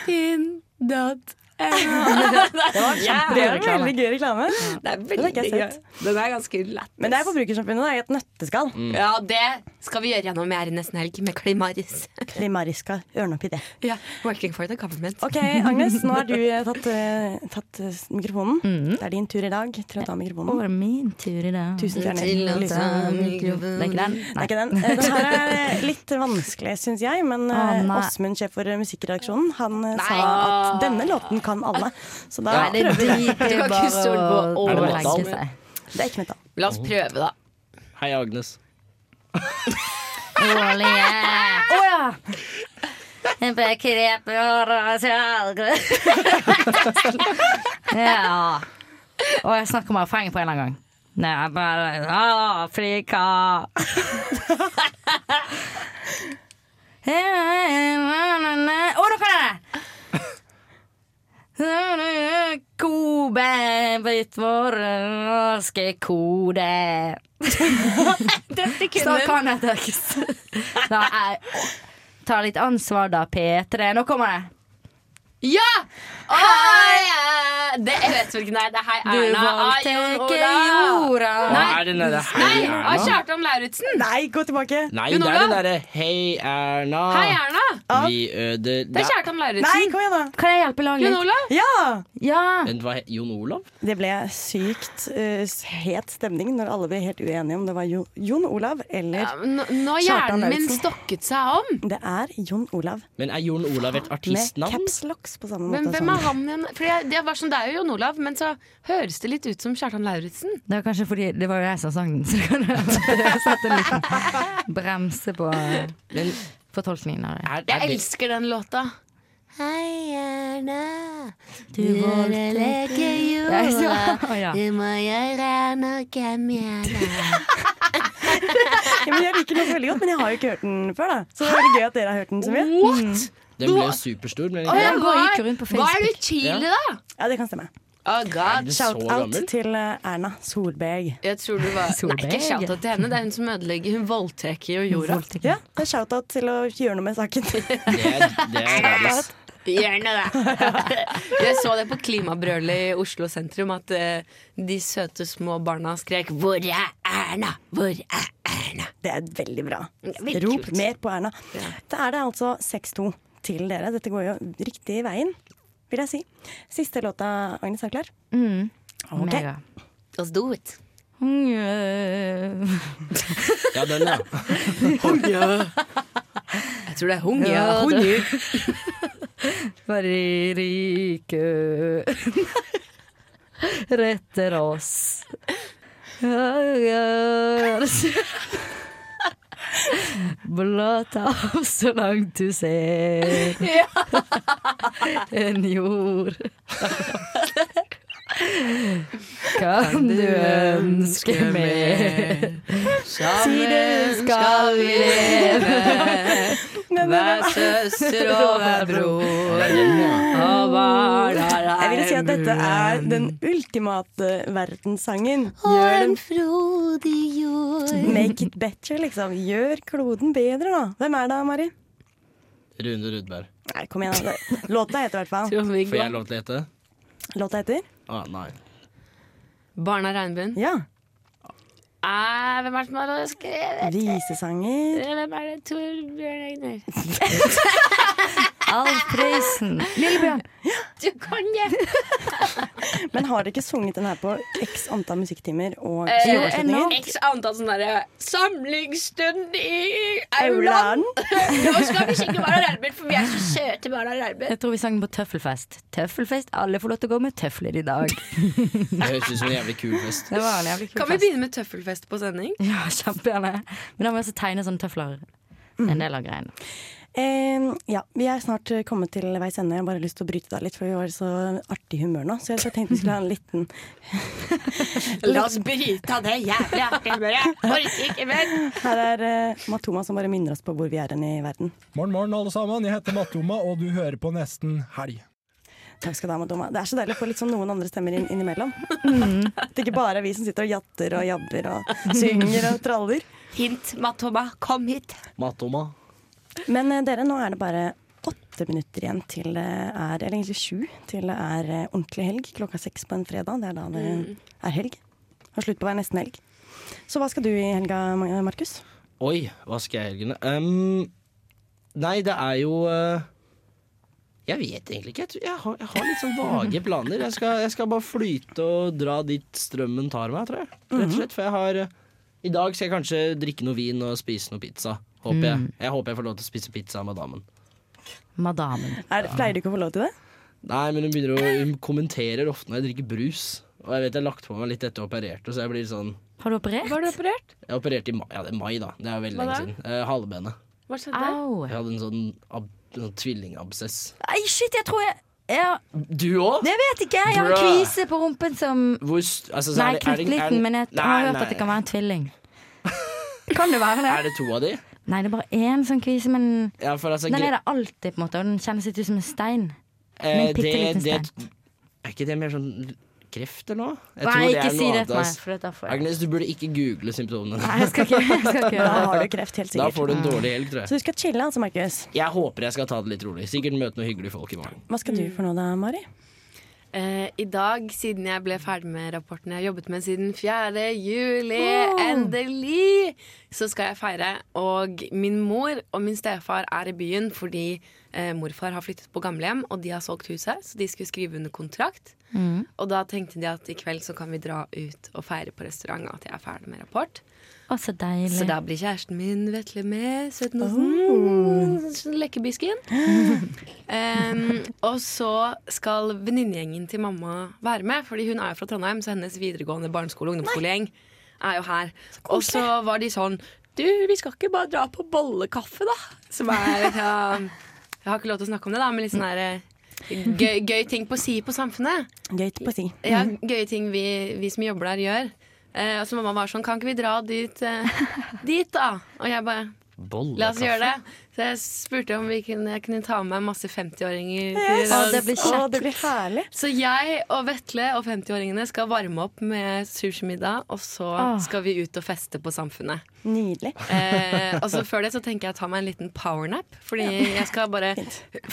Det var kjempegøy reklame. Veldig
Det
gøy reklame.
er
Den har ikke
veldig gøy.
jeg sett.
Den er ganske lættis.
Men det er Forbrukersamfunnet, da, i et nøtteskall.
Mm. Ja, det skal vi gjøre noe mer nesten helg med Klimaris.
Klimariska, ørne opp i det.
Ja, working for the government.
Ok, Agnes, nå har du eh, tatt, eh, tatt eh, mikrofonen. Det er din tur i dag til å ta mikrofonen.
Og det er min tur i dag.
Tusen stjerner.
Til å ta mikrofonen.
Det er ikke den. Det er ikke den. Eh, Den her er litt vanskelig, syns jeg, men
Å,
eh,
nei.
Åsmund, sjef for musikkredaksjonen, han eh, sa
Nei.
at denne låten kan alle. Så da
Nei, det
prøver vi
driter Du kan ikke bare stole på å Er det overlegge metal? seg.
Det er ikke metal.
La oss prøve, da.
Hei, Agnes.
Rolig, ja. Å Jeg ble krep i håret og
Ja. Og jeg snakker om erfaring på en eller annen gang. Nei, jeg bare Afrika! Å, nå kan jeg det! Kobe bryt vår norske kode. Så kan jeg
(laughs)
tekst. Da jeg tar litt ansvar, da, P3. Nå kommer det.
Ja! Hei! Det, jeg vet hvilken det er. Det er Hei
Du
Erna. av
valgte
Jon
ikke
Olav.
jorda.
Er det den derre Hei,
Nei, av
Erna?
Kjartan Lauritzen.
Nei, gå tilbake.
Nei,
Jon
det er den
Olav.
derre Hei, Erna.
Hei, Erna.
Vi ødelegger
Det er Kjartan Lauritzen.
Nei, kom igjen, da.
Kan jeg hjelpe laget
Jon Olav?
Ja!
Vent, hva he- Jon Olav?
Det ble sykt eh, het stemning når alle ble helt uenige om det var jo, Jon Olav eller
Ja, men nå- nå har
Kjartan
hjernen min
Lauritzen.
stokket seg om.
Det er Jon Olav.
Men er Jon Olav et
Med
artistnavn?
caps locks på samme måte sånn.
Men hvem
som-
er han igjen? Fordi jeg, det, var sånn, det er jo Jon Olav, men så høres det litt ut som Kjartan Lauritzen.
Det var kanskje fordi det var jo jeg som sang den, så det kan jeg sette en liten bremse på eh, fortolkningen av det.
Jeg elsker den låta. Hei, Erna. Du
ødelegger jorda. Det
må gjøre noe med
(laughs) ja, men jeg liker den også veldig godt, men jeg har jo ikke hørt den før. da Så det er veldig gøy at dere har hørt den så mye.
Mm.
Mm.
What?
Den ble jo superstor. Men
Å, ja,
ikke
hva er- hva er du i Chile,
Ja.
da?
Ja, det kan stemme.
Oh
Er
god.
du så
Shout-out
gammel?
til eh, Erna Solberg.
Jeg tror du var Nei, ikke shout-out til henne. Det er hun som ødelegger. Hun voldteker jo jorda.
Ja, det er shout-out til å gjøre noe med saken.
(laughs) Det
er gratis. Gjør nå det! (laughs) Jeg så det på klimabrølet i Oslo sentrum, at eh, de søte små barna skrek 'Hvor er Erna?' Hvor er
Det er veldig bra.
veldig
Rop
kult.
mer på Erna. Da er det altså 6-2 til dere. Dette går jo riktig veien, vil jeg si. Siste låta, Agnes, er klar?
Mm.
Ok. (laughs)
Mega.
Let's do it.
Ja, den,
(laughs)
ja.
Jeg tror det er hunger.
Ja,
Hunger.
det- Fordi rike retter oss. Blåt av så langt du ser en jord. Kan du ønske mer? Si du skal vi leve. Vær søster og vær bror. Og barna er
Jeg vil si at dette er den ultimate verdenssangen. Gjør den
frodig jord.
Make it better, liksom. Gjør kloden bedre, da. Hvem er det, Mari?
Rune Rudberg.
Nei, kom igjen. da. Låta heter i hvert
(laughs)
fall.
Får jeg lov til å hete?
Låta heter
Å, nei.
Barna Regnbuen.
Ja.
Eh, hvem er det som har skrevet
Visesanger.
Hvem er det? Torbjørn Egner.
Alfreisen. Lillebjørn.
Du kan det!
Men har dere ikke sunget den her på x antall musikktimer og
Eh,
kinoavslutninger?
X antall sånne der, eh, samlingsstund i
Aulaen.
aulaen. Nå skal vi synge Barna Regnbuen, for vi er så søte Barna Regnbuen.
Jeg tror vi sang den på Tøffelfest. Tøffelfest, alle får lov til å gå med tøfler i dag.
Det høres ut som en jævlig kul
(laughs)
fest.
Det var en jævlig kul
Kan vi
fest.
begynne med tøffelfest på sending?
(laughs) Ja, kjempegjerne. Men da må jeg også tegne sånne tøfler.
Mm.
En del av greiene.
Eh, ja, vi er snart eh, kommet til veis ende. Jeg har bare lyst til å bryte deg litt, for vi var i så artig humør nå. Så jeg så tenkte vi skulle ha en liten
La oss bryte av det jævlig artige humøret. Orker ikke mer.
Her er eh, Matoma som bare minner oss på hvor vi er hen i verden.
Morgen, morgen, alle sammen. Jeg heter Mattoma, og du hører på Nesten Helg.
Takk skal du ha, Matoma. Det er så deilig å få litt sånn noen andre stemmer inn, innimellom. At det ikke bare er vi som sitter og jatter og jabber og synger og traller.
Hint, Matoma, kom hit.
Matoma.
Men eh, dere, nå er det bare åtte minutter igjen til det er Eller egentlig sju til det er eh, ordentlig helg. Klokka seks på en fredag. Det er da det
Mm.
er helg. Og slutt på hver nesten helg. Så hva skal du i helga, Ma- Markus?
Oi, hva skal jeg i helgene? Ehm, nei, det er jo eh, Jeg vet egentlig ikke. Jeg, tror, jeg, har, jeg har litt sånn vage planer. Jeg skal, jeg skal bare flyte og dra dit strømmen tar meg, tror jeg. Rett og slett. For jeg har eh, I dag skal jeg kanskje drikke noe vin og spise noe pizza. Håper jeg.
Mm.
Jeg håper jeg får lov til å spise pizza av madammen.
Madamen.
Er, pleier du ikke å få lov til det?
Nei, men hun begynner å hun kommenterer ofte når jeg drikker brus. Og jeg vet jeg har lagt på meg litt etter jeg opererte, så jeg blir sånn
Har du operert?
Var du operert?
Jeg opererte i mai, ja, det er mai da. Det er veldig
Hva
lenge
da?
siden. Eh, halvbenet.
Hva skjedde?
Jeg hadde en sånn, ab sånn tvillingabsess.
Nei, shit, jeg tror jeg jeg,
Du òg?
jeg vet ikke! Jeg har en
Bruh.
kvise på rumpen som
Hvor st altså, så
Nei,
er det- er det- er det-
knuttliten, men jeg
Nei,
har hørt
nei.
at det kan være en tvilling. Kan det være det?
Er det to av de?
Nei, det er bare én sånn kvise, men
Ja, for altså
den
gre-
er der alltid, på en måte. Og den kjennes litt ut som en stein.
eh,
Med en bitte liten
det-
stein.
Er ikke det mer sånn kreft eller noe?
Nei,
tror
ikke
er
si det
noe annet,
til meg,
ass.
for det er derfor jeg-
Agnes, du burde ikke google symptomene.
Nei, jeg skal ikke- jeg skal ikke gjøre
Da har du kreft,
(laughs)
helt
Da
sikkert.
får du en
Mm.
dårlig helg, tror jeg.
Så du skal chille, altså, Markus.
Jeg håper jeg skal ta det litt rolig. Sikkert møte noen hyggelige folk i morgen.
Hva skal du
Mm.
for noe da, Mari?
Eh, I dag, siden jeg ble ferdig med rapporten jeg har jobbet med siden 4. juli, endelig, så skal jeg feire. Og min mor og min stefar er i byen fordi eh, morfar har flyttet på gamlehjem, og de har solgt huset, så de skulle skrive under kontrakt.
Mm.
Og da tenkte de at i kveld så kan vi dra ut og feire på restaurant at jeg er ferdig med rapport.
Å, så deilig.
Så da blir kjæresten min Vetle med, søten og
Oh.
sånn,
(laughs)
lekkebisken. Em, og så skal venninnegjengen til mamma være med, Fordi hun er jo fra Trondheim, så hennes videregående barneskole- og ungdomsskolegjeng er jo her. Og så var de sånn Du, vi skal ikke bare dra på bollekaffe, da? Som er ja, Jeg har ikke lov til å snakke om det, da, men litt sånn her eh, gøy, gøy ting på si på samfunnet.
Gøy på si.
Ja, gøye ting vi, vi som jobber der, gjør. Eh, og så mamma var sånn, kan ikke vi dra dit, eh, dit da? Og jeg bare, la oss gjøre det. Så jeg spurte om vi kunne, jeg kunne ta med meg masse 50-åringer. til
Yes.
dans.
Å, det blir kjekt. Å, det blir herlig.
Så jeg og Vetle og 50-åringene skal varme opp med sushimiddag, og så
Åh.
skal vi ut og feste på samfunnet.
Nydelig.
Eh, og så før det så tenker jeg å ta meg en liten powernap. Fordi jeg skal bare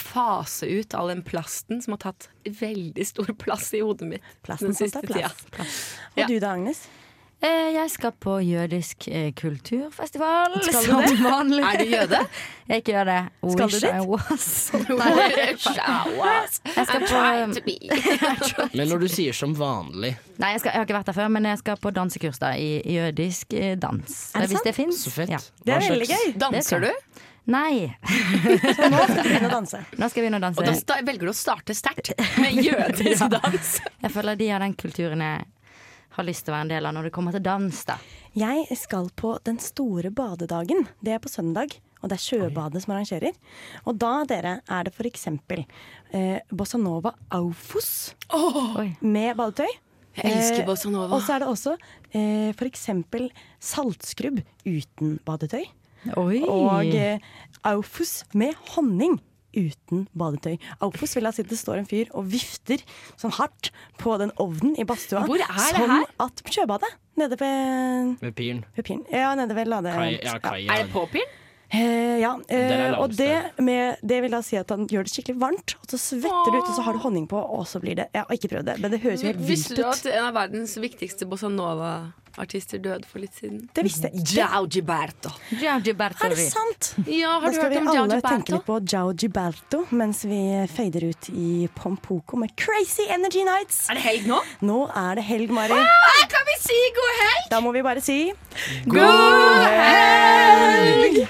fase ut all den plasten som har tatt veldig stor plass i hodet mitt
Plasten
den
som
siste
tar plass.
tida.
Og du da, Agnes?
Eh, Jeg skal på jødisk eh, kulturfestival.
Skal du
som
det?
Vanlig.
Er du jøde?
(laughs) Jeg er ikke jøde.
Skal du
Wish
dit?
I
(laughs)
was.
Wish I was.
Jeg skal
I'm
på
trying to be.
(laughs) Men når du sier som vanlig
Nei, jeg, skal, jeg har ikke vært der før, men jeg skal på dansekurs da, i jødisk eh, dans.
Er det
Hvis det
sant?
fins.
Så fett.
Ja.
Det er Hva veldig slags- gøy.
Det skal
Danser
jeg.
du?
Nei.
Så nå skal du begynne å danse.
Nå skal jeg begynne å danse.
Og da sta- velger du å starte sterkt med (laughs) jødisk dans.
Jeg føler de har den kulturen jeg har lyst til å være en del av når det kommer til dans. da
Jeg skal på Den store badedagen. Det er på søndag. Og det er Sjøbadet som arrangerer. Og da, dere, er det for eksempel eh, Bossa Nova Aufos med badetøy. Eh,
Jeg elsker Bossa Nova.
Og så er det også eh, for eksempel saltskrubb uten badetøy.
Oi.
Og eh, Aufos med honning uten badetøy. Aufos vil jeg si det står en fyr og vifter sånn hardt på den ovnen i badstua.
Hvor er det
som
her?
at sjøbadet. Nede ved
med piren
ved piren. Ja, nede ved Lade...
Kai, ja, kai, ja.
Er det påpinn?
Eh, ja,
Der er
eh, og
laveste.
det, med, det vil da si at han gjør det skikkelig varmt, og så svetter du ut, og så har du honning på, og så blir det Jeg har ikke prøvd det, men det høres jo helt vilt
Visste du at
ut.
en av verdens viktigste bossa nova-artister døde for litt siden?
Det visste jeg ikke.
Giao Gilberto.
Er det sant?
Ja,
Da
har du
skal
hørt
vi
om Giao
alle tenke
Gilberto?
litt på Jao Giberto mens vi fader ut i Pompoko med Crazy Energy Nights.
Er det helg nå?
Nå er det helg, Mari.
Ah, kan vi si god helg?
Da må vi bare si
God helg!